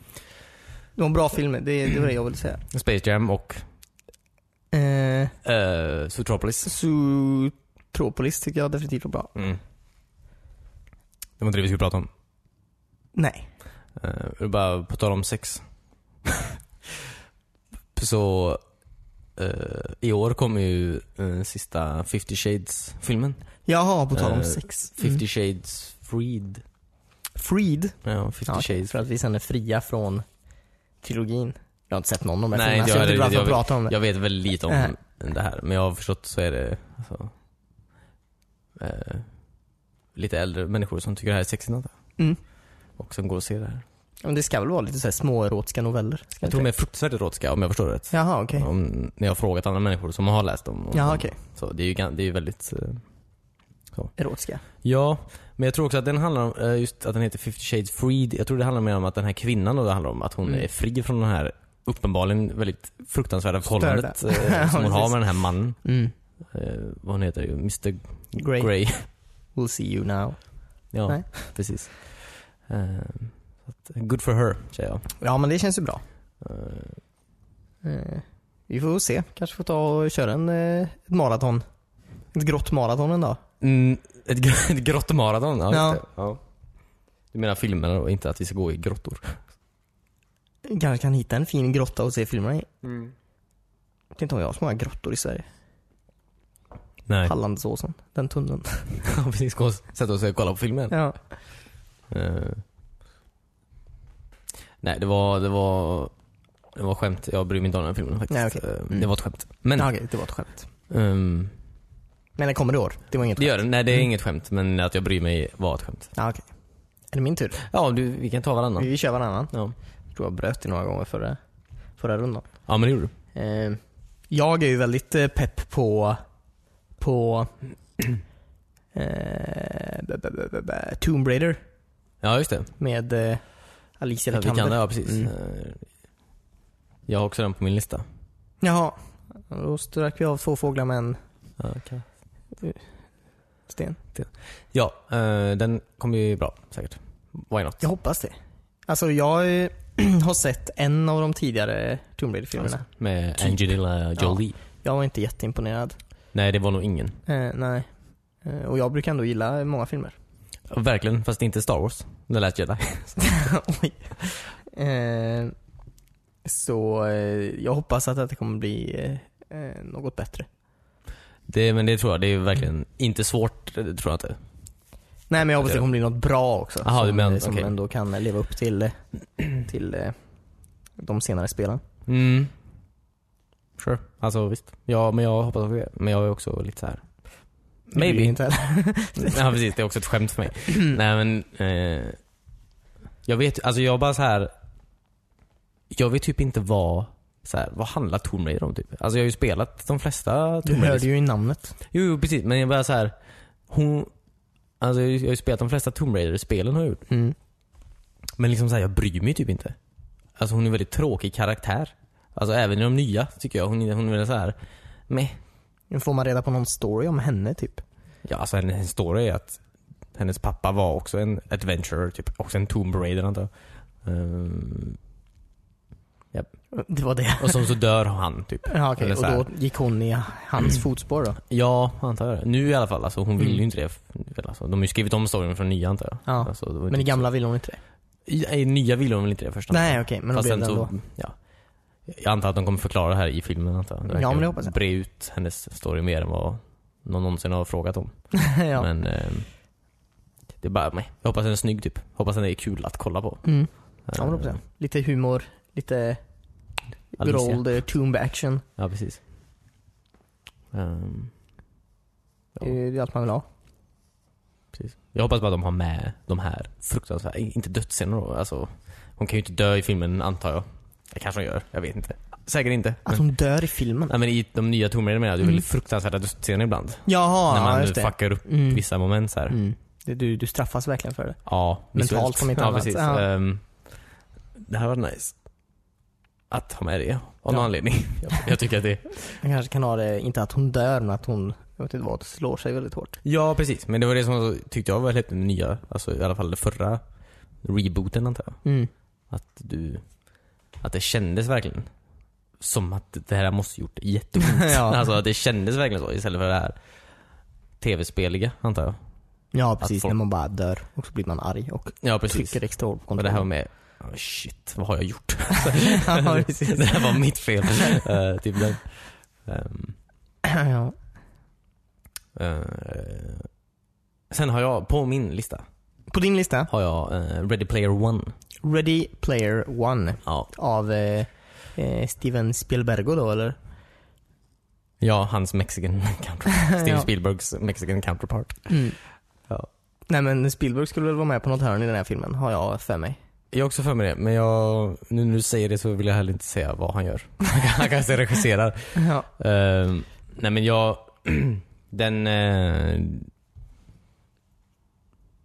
[SPEAKER 1] Det var en bra film, det, det var det jag ville säga.
[SPEAKER 2] Space Jam och
[SPEAKER 1] Eh,
[SPEAKER 2] uh, Zootropolis.
[SPEAKER 1] Zootropolis tycker jag definitivt var bra.
[SPEAKER 2] Mm. Det var inte det vi skulle prata om.
[SPEAKER 1] Nej.
[SPEAKER 2] Uh, bara på tal om sex. <laughs> Så eh, i år kom ju eh, sista 50 Shades filmen.
[SPEAKER 1] Mm. Jaha, på tal om
[SPEAKER 2] Eh,
[SPEAKER 1] sex.
[SPEAKER 2] 50
[SPEAKER 1] Mm.
[SPEAKER 2] Shades Freed.
[SPEAKER 1] Freed.
[SPEAKER 2] Ja, 50
[SPEAKER 1] Ja, okej,
[SPEAKER 2] Shades.
[SPEAKER 1] för att vi sen är fria från trilogin. Jag har inte sett någon av de här
[SPEAKER 2] Nej,
[SPEAKER 1] filmerna,
[SPEAKER 2] inte
[SPEAKER 1] så jag
[SPEAKER 2] jag
[SPEAKER 1] vet inte varför
[SPEAKER 2] heller.
[SPEAKER 1] jag pratar om det.
[SPEAKER 2] Jag vet väl lite om
[SPEAKER 1] Eh.
[SPEAKER 2] det här, men jag har förstått så är det alltså, eh, lite äldre människor som tycker det här är sexigt. antar jag.
[SPEAKER 1] Mm.
[SPEAKER 2] Och som går och ser det här.
[SPEAKER 1] Men det ska väl vara lite så här småerotiska noveller? Ska
[SPEAKER 2] Jag
[SPEAKER 1] det
[SPEAKER 2] tror de
[SPEAKER 1] inte?
[SPEAKER 2] är fruktansvärt erotiska om jag förstår det rätt.
[SPEAKER 1] Jaha, okej.
[SPEAKER 2] Om, när jag har frågat andra människor som har läst dem. och-
[SPEAKER 1] Jaha, okej.
[SPEAKER 2] Så det är ju, gan- det är ju väldigt... eh,
[SPEAKER 1] Erotiska.
[SPEAKER 2] Ja, men jag tror också att den handlar om, eh, just att den heter 50 shades freed. Jag tror det handlar mer om att den här kvinnan då det handlar om, att hon
[SPEAKER 1] Mm.
[SPEAKER 2] är fri från den här uppenbarligen väldigt fruktansvärda förhållandet
[SPEAKER 1] Störda. <laughs>
[SPEAKER 2] eh, som hon
[SPEAKER 1] Ja,
[SPEAKER 2] har
[SPEAKER 1] precis.
[SPEAKER 2] med den här mannen.
[SPEAKER 1] Mm.
[SPEAKER 2] Eh, vad hon heter ju, Mr
[SPEAKER 1] Grey.
[SPEAKER 2] Grey.
[SPEAKER 1] We'll see you now.
[SPEAKER 2] Ja,
[SPEAKER 1] Nej.
[SPEAKER 2] precis. Eh, så att, good for her, säger jag.
[SPEAKER 1] Ja, men det känns ju bra.
[SPEAKER 2] Eh,
[SPEAKER 1] Eh, vi får se. Kanske får ta och köra en, eh, ett maraton. Ett grått maraton en dag.
[SPEAKER 2] mm, ett, gr- <laughs> ett grått maraton, ja,
[SPEAKER 1] Ja.
[SPEAKER 2] Just det. ja. Du menar filmerna och inte att vi ska gå i grottor?
[SPEAKER 1] Kanske kan hitta en fin grotta och se filmerna i. Jag vet inte om jag har så många grottor i Sverige.
[SPEAKER 2] Nej.
[SPEAKER 1] Hallandsåsen, den tunneln.
[SPEAKER 2] <laughs> Ja, precis. Gå och sätta oss och kolla på filmen.
[SPEAKER 1] ja.
[SPEAKER 2] Eh. Nej, det var, det var det var skämt. Jag bryr mig inte om den här filmen faktiskt.
[SPEAKER 1] Nej, okej.
[SPEAKER 2] Eh,
[SPEAKER 1] Mm.
[SPEAKER 2] Det var ett skämt. Men,
[SPEAKER 1] ja okej, det var ett skämt.
[SPEAKER 2] ehm,
[SPEAKER 1] Men den kommer i år. Det var inget
[SPEAKER 2] det
[SPEAKER 1] skämt.
[SPEAKER 2] gör den. Nej, det är inget skämt. Men att jag bryr mig var ett skämt.
[SPEAKER 1] Ja, okej. Är det min tur?
[SPEAKER 2] Ja, du, vi kan ta varannan.
[SPEAKER 1] Vi kör varannan.
[SPEAKER 2] Ja.
[SPEAKER 1] Jag tror jag bröt det några gånger förra, förra rundan.
[SPEAKER 2] ja, men det gjorde du.
[SPEAKER 1] Eh, jag är ju väldigt eh, pepp på, på <clears throat> eh, b- b- b- b- Tomb Raider
[SPEAKER 2] Ja, just det.
[SPEAKER 1] med eh, Alicia
[SPEAKER 2] Ja, vi
[SPEAKER 1] Vikander.
[SPEAKER 2] kan, ja, precis.
[SPEAKER 1] Mm.
[SPEAKER 2] Eh, Jag har också den på min lista.
[SPEAKER 1] Jaha. Då strök vi av två fåglar med en
[SPEAKER 2] Ja, okej.
[SPEAKER 1] sten.
[SPEAKER 2] Ja, eh, den kommer ju bra säkert. Why not?
[SPEAKER 1] Jag hoppas det. Alltså jag eh, <clears throat> har sett en av de tidigare Tomb Raider-filmerna.
[SPEAKER 2] Med
[SPEAKER 1] Typ.
[SPEAKER 2] Angelina Jolie.
[SPEAKER 1] Jag var inte jätteimponerad.
[SPEAKER 2] Nej, det var nog ingen.
[SPEAKER 1] Eh, nej. Eh, och jag brukar ändå gilla många filmer. <laughs>
[SPEAKER 2] Verkligen, fast inte Star Wars. The Last Jedi.
[SPEAKER 1] Oj. Eh, så eh, jag hoppas att det kommer bli eh, eh, något bättre.
[SPEAKER 2] Det, men det tror jag. Det är verkligen inte svårt, det tror jag inte.
[SPEAKER 1] Nej men jag hoppas att det kommer bli något bra också.
[SPEAKER 2] Aha, du
[SPEAKER 1] som eh,
[SPEAKER 2] menar-
[SPEAKER 1] som
[SPEAKER 2] okej.
[SPEAKER 1] ändå kan leva upp till, eh, till eh, de senare spelen.
[SPEAKER 2] Mm. Sure. Alltså visst. Ja, men jag hoppas också det. Men jag är också lite så här.
[SPEAKER 1] Det blir
[SPEAKER 2] Maybe.
[SPEAKER 1] Inte heller.
[SPEAKER 2] <laughs> ja precis, det är också ett skämt för mig. Nej men... Eh, jag vet alltså jag bara så här. Jag vet typ inte vad... Så här, vad handlar Tomb Raider om typ? Alltså jag har ju spelat de flesta
[SPEAKER 1] Du
[SPEAKER 2] Tomb Raider.
[SPEAKER 1] hörde ju i namnet.
[SPEAKER 2] Jo, jo precis, men jag bara så här. Hon... Alltså jag har ju- jag har ju spelat de flesta Tomb Raider-spelen har jag gjort.
[SPEAKER 1] Mm.
[SPEAKER 2] Men liksom så här, jag bryr mig typ inte. Alltså hon är en väldigt tråkig karaktär. Alltså även i de nya tycker jag. Hon, är- hon är väl så här. Meh.
[SPEAKER 1] Nu får man reda på någon story om henne typ.
[SPEAKER 2] Ja, alltså hennes hennes story är att hennes pappa var också en adventurer, typ. Också en Tomb Raider antar jag. Ehm,
[SPEAKER 1] Det var det.
[SPEAKER 2] och sen så dör han typ.
[SPEAKER 1] Ja, okej.
[SPEAKER 2] Eller så här.
[SPEAKER 1] Och då gick hon i hans fotspår då?
[SPEAKER 2] Ja, antar jag det. Nu i alla fall. Alltså, hon vill
[SPEAKER 1] Mm.
[SPEAKER 2] ju inte det. Väl, Alltså, de har ju skrivit om storyn från nya antar jag.
[SPEAKER 1] Ja.
[SPEAKER 2] Alltså, det var
[SPEAKER 1] Men i
[SPEAKER 2] typ
[SPEAKER 1] gamla ville hon inte det?
[SPEAKER 2] så- I, I nya ville de väl inte det först? antar jag.
[SPEAKER 1] Nej okej, men då
[SPEAKER 2] Fast
[SPEAKER 1] blev
[SPEAKER 2] sen
[SPEAKER 1] det
[SPEAKER 2] så,
[SPEAKER 1] ändå.
[SPEAKER 2] ja. Jag antar att de kommer förklara det här i filmen antar jag. De
[SPEAKER 1] Ja,
[SPEAKER 2] verkar
[SPEAKER 1] men det hoppas jag.
[SPEAKER 2] Bre ut hennes story mer än vad någon någonsin har frågat om.
[SPEAKER 1] <laughs> ja.
[SPEAKER 2] Men ehm, det är bara, nej. Jag hoppas den är snygg typ. Hoppas den är kul att kolla på.
[SPEAKER 1] Mm. Ja,
[SPEAKER 2] Ehm,
[SPEAKER 1] men då får jag. Lite humor, lite good
[SPEAKER 2] Alicia.
[SPEAKER 1] old eh, tomb action.
[SPEAKER 2] Ja, precis. Ehm, Ja. Mm.
[SPEAKER 1] Det är ju allt man vill ha.
[SPEAKER 2] precis. Jag hoppas bara att de har med de här fruktansvärda, inte dödsscener då. Alltså, hon kan ju inte dö i filmen antar jag. Det kanske hon gör, jag vet inte. Säkert inte.
[SPEAKER 1] Att
[SPEAKER 2] Men,
[SPEAKER 1] hon Mm. dör i filmen?
[SPEAKER 2] nej, men i de nya Tomb Raider menar jag, det är väldigt fruktansvärda dödsscener ibland.
[SPEAKER 1] Jaha,
[SPEAKER 2] när man
[SPEAKER 1] ja,
[SPEAKER 2] nu
[SPEAKER 1] just det.
[SPEAKER 2] fuckar upp
[SPEAKER 1] Mm.
[SPEAKER 2] vissa moment så här.
[SPEAKER 1] Mm. Det, du, du straffas verkligen för det.
[SPEAKER 2] Ja,
[SPEAKER 1] Mentalt
[SPEAKER 2] visuellt. Ehm,
[SPEAKER 1] om inte
[SPEAKER 2] ja,
[SPEAKER 1] annat.
[SPEAKER 2] Precis.
[SPEAKER 1] Ja.
[SPEAKER 2] Ehm, det här var nice. att ha med det av någon
[SPEAKER 1] Ja.
[SPEAKER 2] anledning. <laughs> Jag, jag tycker att det
[SPEAKER 1] Man kanske kan ha det, inte att hon dör, men att hon, jag vet inte vad, slår sig väldigt hårt.
[SPEAKER 2] Ja precis, men det var det som tyckte jag var lite nya, alltså i alla fall det förra rebooten antar jag.
[SPEAKER 1] Mm.
[SPEAKER 2] Att du, att det kändes verkligen som att det här måste gjort jätteont. <laughs>
[SPEAKER 1] Ja.
[SPEAKER 2] Alltså att det kändes verkligen så istället för det här tv-speliga antar jag.
[SPEAKER 1] Ja precis,
[SPEAKER 2] folk-
[SPEAKER 1] när man bara dör och så blir man arg och
[SPEAKER 2] Ja precis.
[SPEAKER 1] trycker extra hårt på
[SPEAKER 2] Och det här var
[SPEAKER 1] kontrollen.
[SPEAKER 2] med, oh, shit vad har jag gjort?
[SPEAKER 1] <laughs> ja, <laughs> precis.
[SPEAKER 2] <laughs> det här var mitt fel. Eh, typ den. Ehm,
[SPEAKER 1] <clears throat> ja.
[SPEAKER 2] eh, sen har jag, på min lista,
[SPEAKER 1] På din lista,
[SPEAKER 2] har jag eh, Ready Player One.
[SPEAKER 1] Ready Player One
[SPEAKER 2] Ja.
[SPEAKER 1] av eh, eh, Steven Spielbergo då eller?
[SPEAKER 2] Ja, hans mexican <laughs> counterpart.
[SPEAKER 1] <laughs>
[SPEAKER 2] Steven
[SPEAKER 1] Ja.
[SPEAKER 2] Spielbergs mexican counterpart. Ja.
[SPEAKER 1] Mm. Nej men Spielberg skulle väl vara med på något hörn i den här filmen, har jag för mig.
[SPEAKER 2] Jag har också för mig det, men jag, nu när du säger det så vill jag heller inte säga vad han gör. <laughs> han kanske regisserar.
[SPEAKER 1] <laughs> Ja.
[SPEAKER 2] Ehm, nej men jag, <clears throat> den... eh,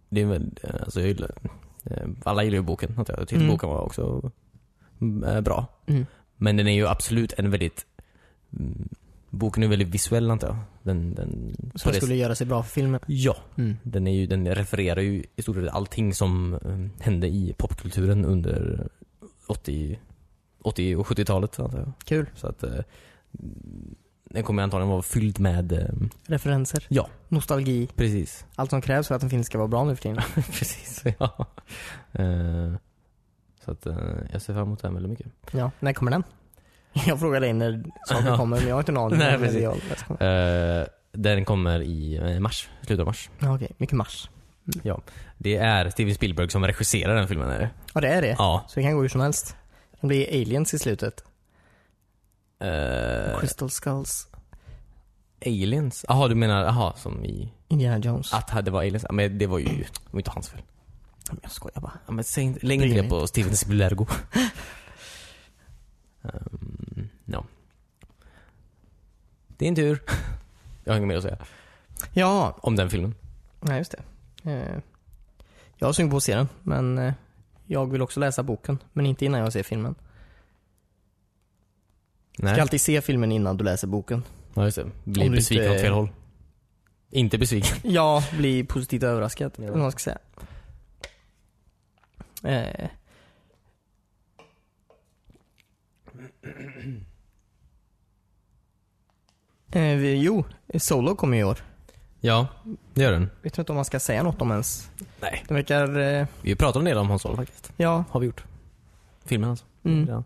[SPEAKER 2] det är väl, alltså jag gillar, eh, alla gillar ju boken antar jag. Jag tyckte
[SPEAKER 1] Mm.
[SPEAKER 2] boken var också eh, bra.
[SPEAKER 1] Mm.
[SPEAKER 2] Men den är ju absolut en väldigt, mm, boken är väldigt visuell antar jag. Den, den, på
[SPEAKER 1] Som
[SPEAKER 2] det-
[SPEAKER 1] skulle göra sig bra för filmen.
[SPEAKER 2] Ja.
[SPEAKER 1] Mm.
[SPEAKER 2] Den, är ju, den refererar ju i stort sett allting som eh, hände i popkulturen under 80, 80 och 70-talet antar jag.
[SPEAKER 1] Kul.
[SPEAKER 2] Så att eh, den kommer antagligen vara fylld med eh,
[SPEAKER 1] Referenser.
[SPEAKER 2] Ja.
[SPEAKER 1] Nostalgi.
[SPEAKER 2] Precis.
[SPEAKER 1] Allt som krävs för att en film ska vara bra nu för <laughs> tiden.
[SPEAKER 2] <laughs> Precis, ja. Eh, så att eh, jag ser fram emot det här väldigt mycket.
[SPEAKER 1] Ja. När kommer den? Jag frågar dig när saker
[SPEAKER 2] Ja.
[SPEAKER 1] kommer men jag har inte en <laughs> aning.
[SPEAKER 2] Nej,
[SPEAKER 1] om när
[SPEAKER 2] precis.
[SPEAKER 1] det är- när det kommer.
[SPEAKER 2] Eh, den kommer i eh, mars, slutet av mars.
[SPEAKER 1] Ja, Okej, mycket mars.
[SPEAKER 2] Det är Steven Spielberg som regisserar den filmen är det?
[SPEAKER 1] Ja det är det.
[SPEAKER 2] Ja.
[SPEAKER 1] Så det kan gå hur som helst. Det blir aliens i slutet.
[SPEAKER 2] Eh,
[SPEAKER 1] Crystal Skulls.
[SPEAKER 2] aliens? Jaha du menar, aha som i
[SPEAKER 1] Indiana Jones.
[SPEAKER 2] Att det var aliens? Ja, Men det var ju det var inte hans fel.
[SPEAKER 1] Men Jag skojar bara.
[SPEAKER 2] Ja, men säg inte, lägg inte det på Steven <laughs> Spielbergo. um, ja. Din tur. Jag har inget mer att säga
[SPEAKER 1] Ja,
[SPEAKER 2] om den filmen.
[SPEAKER 1] nej just det. Eh, Jag har sugen på att se den, men eh, jag vill också läsa boken. Men inte innan jag ser filmen. Du
[SPEAKER 2] Nej.
[SPEAKER 1] ska alltid se filmen innan du läser boken.
[SPEAKER 2] Ja, just det.
[SPEAKER 1] Om
[SPEAKER 2] Bli
[SPEAKER 1] du
[SPEAKER 2] besviken
[SPEAKER 1] inte-
[SPEAKER 2] åt fel håll. Inte besviken.
[SPEAKER 1] Ja, bli positivt överraskad.
[SPEAKER 2] Ja.
[SPEAKER 1] Eller vad man ska säga. Eh. Eh, vi, jo, Solo kommer i år.
[SPEAKER 2] <laughs> Ja, det gör den.
[SPEAKER 1] Vet inte om man ska säga något om ens.
[SPEAKER 2] Nej.
[SPEAKER 1] Den verkar... Eh,
[SPEAKER 2] Vi pratade om det om Hans Solo faktiskt.
[SPEAKER 1] ja.
[SPEAKER 2] Har vi gjort. Filmen alltså.
[SPEAKER 1] Mm.
[SPEAKER 2] Ja. Eh,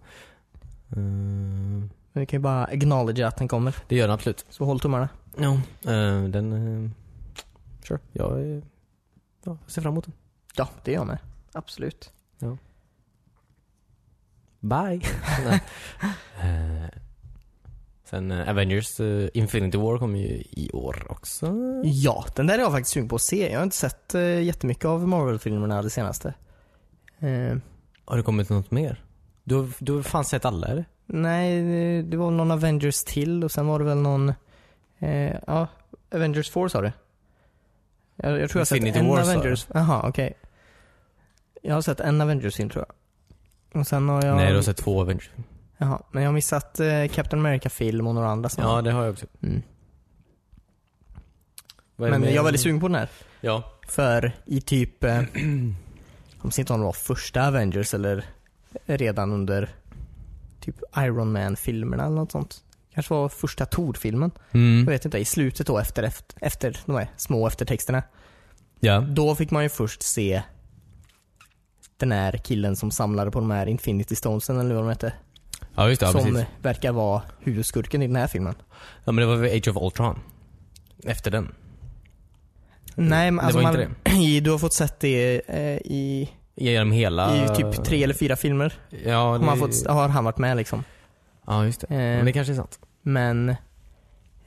[SPEAKER 1] Men vi kan ju bara acknowledge att den kommer.
[SPEAKER 2] det gör den absolut.
[SPEAKER 1] Så håll tummarna.
[SPEAKER 2] Ja, eh, den... eh, sure. Jag är- ja, jag ser fram emot den.
[SPEAKER 1] Ja, det gör jag med. Absolut.
[SPEAKER 2] <laughs> Bye! Nej. Eh, Sen eh, Avengers eh, Infinity War kommer ju i år också.
[SPEAKER 1] Ja, den där är jag faktiskt sugen på att se. Jag har inte sett eh, jättemycket av Marvel-filmerna det senaste. Eh,
[SPEAKER 2] Har det kommit något mer? Du har, du har fan sett alla eller?
[SPEAKER 1] nej, det- det var någon Avengers till och sen var det väl någon... Eh, ja, Avengers 4 sa du? Jag, jag tror jag har sett
[SPEAKER 2] Infinity
[SPEAKER 1] en
[SPEAKER 2] War, sa jag.
[SPEAKER 1] Avengers... Jaha, okej. Jag har sett en Avengers-film tror jag. Och sen har jag...
[SPEAKER 2] Nej, du har sett två Avengers.
[SPEAKER 1] Jaha, men jag har missat eh, Captain America-film och några andra sådana.
[SPEAKER 2] Ja, det har jag också.
[SPEAKER 1] Mm.
[SPEAKER 2] Vad är det
[SPEAKER 1] Men
[SPEAKER 2] med-
[SPEAKER 1] jag är väldigt sugen på den här.
[SPEAKER 2] Ja.
[SPEAKER 1] För i typ, eh, <clears throat> jag minns inte om det var första Avengers eller redan under typ Iron Man-filmerna eller något sånt. Kanske var första Thor-filmen. Jag
[SPEAKER 2] Mm.
[SPEAKER 1] vet inte, i slutet då efter, efter, efter de här små eftertexterna.
[SPEAKER 2] Ja.
[SPEAKER 1] Då fick man ju först se den här killen som samlade på de här Infinity Stonesen eller vad de hette.
[SPEAKER 2] ja, just det. Ja,
[SPEAKER 1] som eh,
[SPEAKER 2] precis.
[SPEAKER 1] verkar vara huvudskurken i den här filmen.
[SPEAKER 2] Ja, men det var väl Age of Ultron. Efter den.
[SPEAKER 1] Nej men
[SPEAKER 2] Mm. Det
[SPEAKER 1] alltså
[SPEAKER 2] var
[SPEAKER 1] man,
[SPEAKER 2] inte
[SPEAKER 1] <clears throat> i, du har fått sett det eh, i,
[SPEAKER 2] Genom hela...
[SPEAKER 1] i typ tre eller fyra filmer.
[SPEAKER 2] Ah. Ja,
[SPEAKER 1] Har, man
[SPEAKER 2] det-
[SPEAKER 1] fått, har han varit med liksom.
[SPEAKER 2] ja just det.
[SPEAKER 1] Eh,
[SPEAKER 2] Men det kanske är sant.
[SPEAKER 1] Men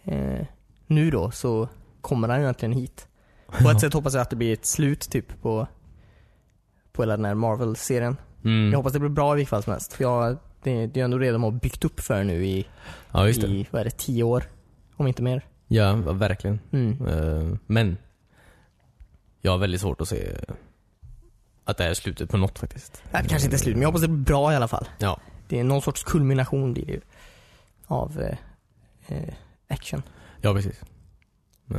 [SPEAKER 1] eh, nu då så kommer han ju äntligen hit. På
[SPEAKER 2] <laughs>
[SPEAKER 1] ett sätt hoppas jag att det blir ett slut typ på, på hela den här Marvel-serien.
[SPEAKER 2] Mm.
[SPEAKER 1] Jag hoppas det blir bra i vilket fall som helst. För jag, det, det är ändå det de har byggt upp för nu i,
[SPEAKER 2] Ja, just det.
[SPEAKER 1] i vad är det, tio år? Om inte mer.
[SPEAKER 2] Ja, verkligen.
[SPEAKER 1] Mm.
[SPEAKER 2] Eh, Men jag har väldigt svårt att se att det här är slutet på något faktiskt.
[SPEAKER 1] Det kanske inte är slut men jag hoppas det blir bra i alla fall.
[SPEAKER 2] Ja.
[SPEAKER 1] Det är någon sorts kulmination blir det ju. Av eh, eh, action.
[SPEAKER 2] Ja, precis. Eh,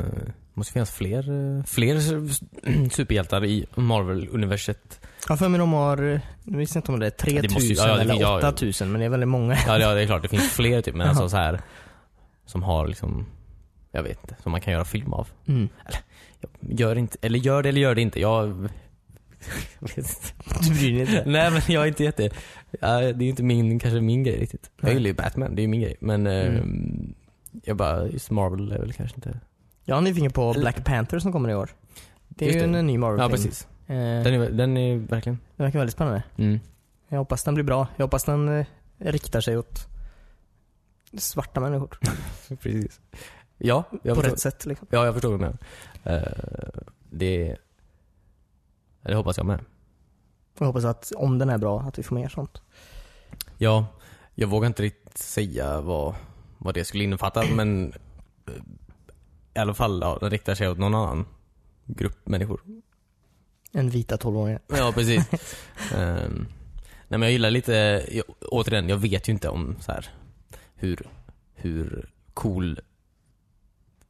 [SPEAKER 2] måste finnas fler, eh, fler s- <clears throat> superhjältar i Marvel-universet.
[SPEAKER 1] Jag har för mig de har, eh, jag visste inte om det är
[SPEAKER 2] Det
[SPEAKER 1] 3000
[SPEAKER 2] måste ju- ja, ja, det-
[SPEAKER 1] eller
[SPEAKER 2] ja, ja.
[SPEAKER 1] 8000 men det är väldigt många. <laughs>
[SPEAKER 2] Ja, det- ja, det är klart. Det finns fler typ, men
[SPEAKER 1] Jaha.
[SPEAKER 2] alltså så här som har liksom, jag vet inte, som man kan göra film av.
[SPEAKER 1] Mm.
[SPEAKER 2] Gör inte, eller gör det eller gör det inte. Jag vet inte.
[SPEAKER 1] Du bryr dig inte?
[SPEAKER 2] <laughs> Nej men jag är inte jätte, ja, det är ju inte min, kanske min grej riktigt. Jag
[SPEAKER 1] Nej.
[SPEAKER 2] gillar ju Batman, det är ju min grej. Men eh,
[SPEAKER 1] Mm.
[SPEAKER 2] jag bara, just Marvel är väl kanske inte...
[SPEAKER 1] Jag är nyfiken på Black Panther som kommer i år. Det är
[SPEAKER 2] Just
[SPEAKER 1] ju
[SPEAKER 2] det.
[SPEAKER 1] en ny Marvel-film.
[SPEAKER 2] Ja precis.
[SPEAKER 1] Eh,
[SPEAKER 2] Den är, den är verkligen...
[SPEAKER 1] det verkar väldigt spännande.
[SPEAKER 2] Mm.
[SPEAKER 1] Jag hoppas den blir bra. Jag hoppas den eh, riktar sig åt svarta människor.
[SPEAKER 2] <laughs> Precis. Ja, jag
[SPEAKER 1] på
[SPEAKER 2] förstår,
[SPEAKER 1] rätt sätt liksom.
[SPEAKER 2] ja, jag förstår vad du menar. Eh, det... Det hoppas jag med.
[SPEAKER 1] Jag hoppas att om den är bra, att vi får mer sånt.
[SPEAKER 2] Ja, jag vågar inte riktigt säga vad, vad det skulle innefatta men eh, i alla fall, ja, den riktar sig åt någon annan grupp människor.
[SPEAKER 1] En vita tolvåringar.
[SPEAKER 2] Ja, precis. Ehm, nej, men jag gillar lite, jag, återigen, jag vet ju inte om så här, hur, hur cool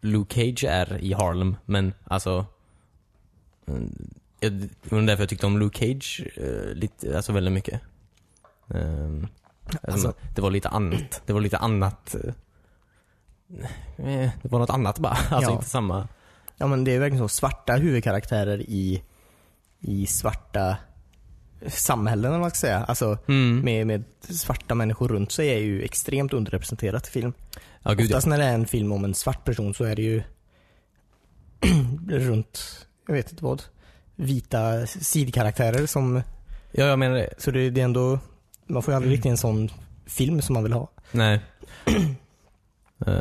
[SPEAKER 2] Luke Cage är i Harlem, men alltså mm, jag, det var därför jag tyckte om Luke Cage eh, lite, alltså väldigt mycket. Ehm, alltså,
[SPEAKER 1] Alltså-
[SPEAKER 2] det var lite annat. Det var lite annat. eh, eh, Det var något annat bara. <laughs> Alltså
[SPEAKER 1] Ja.
[SPEAKER 2] inte samma.
[SPEAKER 1] Ja men det är verkligen så. Svarta huvudkaraktärer i, i svarta samhällen eller vad man ska säga. Alltså
[SPEAKER 2] Mm.
[SPEAKER 1] med, med svarta människor runt sig är ju extremt underrepresenterat i film.
[SPEAKER 2] Ja, gud, ja.
[SPEAKER 1] Oftast när det är en film om en svart person så är det ju <clears throat> runt, jag vet inte vad, vita sidkaraktärer som,
[SPEAKER 2] ja, jag menar det.
[SPEAKER 1] så det, det är ändå, man får ju
[SPEAKER 2] Mm.
[SPEAKER 1] aldrig riktigt en sån film som man vill ha.
[SPEAKER 2] Nej. Eh,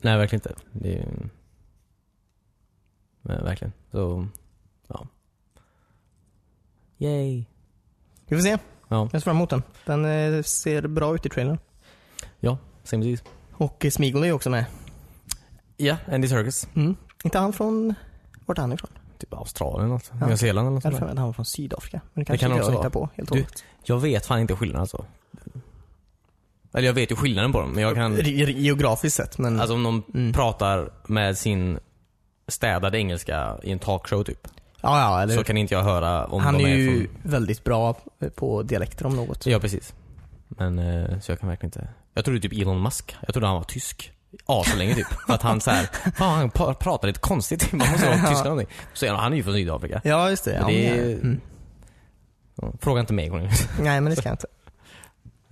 [SPEAKER 2] nej, verkligen inte. Det är ju... Nej, verkligen. Så, ja. Yay.
[SPEAKER 1] Vi får se.
[SPEAKER 2] Ja.
[SPEAKER 1] Jag ser fram emot den. Den eh, ser bra ut i trailern.
[SPEAKER 2] Same disease.
[SPEAKER 1] Och eh, Smeagol är ju också med.
[SPEAKER 2] Ja, Andy Serkis.
[SPEAKER 1] Mm. Inte han från... Vart är han ifrån?
[SPEAKER 2] Typ Australien alltså.
[SPEAKER 1] Ja.
[SPEAKER 2] Nya Zeeland eller något
[SPEAKER 1] Jag hade
[SPEAKER 2] sånt
[SPEAKER 1] för
[SPEAKER 2] där.
[SPEAKER 1] mig att han var från Sydafrika. Men det kanske
[SPEAKER 2] kan
[SPEAKER 1] inte
[SPEAKER 2] också
[SPEAKER 1] jag hittar
[SPEAKER 2] vara.
[SPEAKER 1] på helt och
[SPEAKER 2] Du-
[SPEAKER 1] hållet.
[SPEAKER 2] Jag vet fan inte skillnaden alltså. Eller jag vet ju skillnaden på dem, men jag kan...
[SPEAKER 1] Ge- Geografiskt sett men...
[SPEAKER 2] Alltså om de
[SPEAKER 1] Mm.
[SPEAKER 2] pratar med sin städade engelska i en talkshow typ.
[SPEAKER 1] ja, ja, eller
[SPEAKER 2] Så kan inte jag höra om
[SPEAKER 1] Han
[SPEAKER 2] de
[SPEAKER 1] är
[SPEAKER 2] är,
[SPEAKER 1] ju
[SPEAKER 2] från...
[SPEAKER 1] väldigt bra eh, på dialekter om något.
[SPEAKER 2] Ja, precis. Men eh, så jag kan verkligen inte. Jag trodde typ Elon Musk. Jag trodde han var tysk. Aslänge typ. För att han så här, fan, han pa- pratar lite konstigt. typ. Man måste vara tysk eller någonting. Så är han, han är ju från Sydafrika.
[SPEAKER 1] Ja, just det. Ja,
[SPEAKER 2] det
[SPEAKER 1] men-
[SPEAKER 2] är-
[SPEAKER 1] mm.
[SPEAKER 2] Ja, Fråga inte mig Cornelius.
[SPEAKER 1] Nej, men det ska jag inte.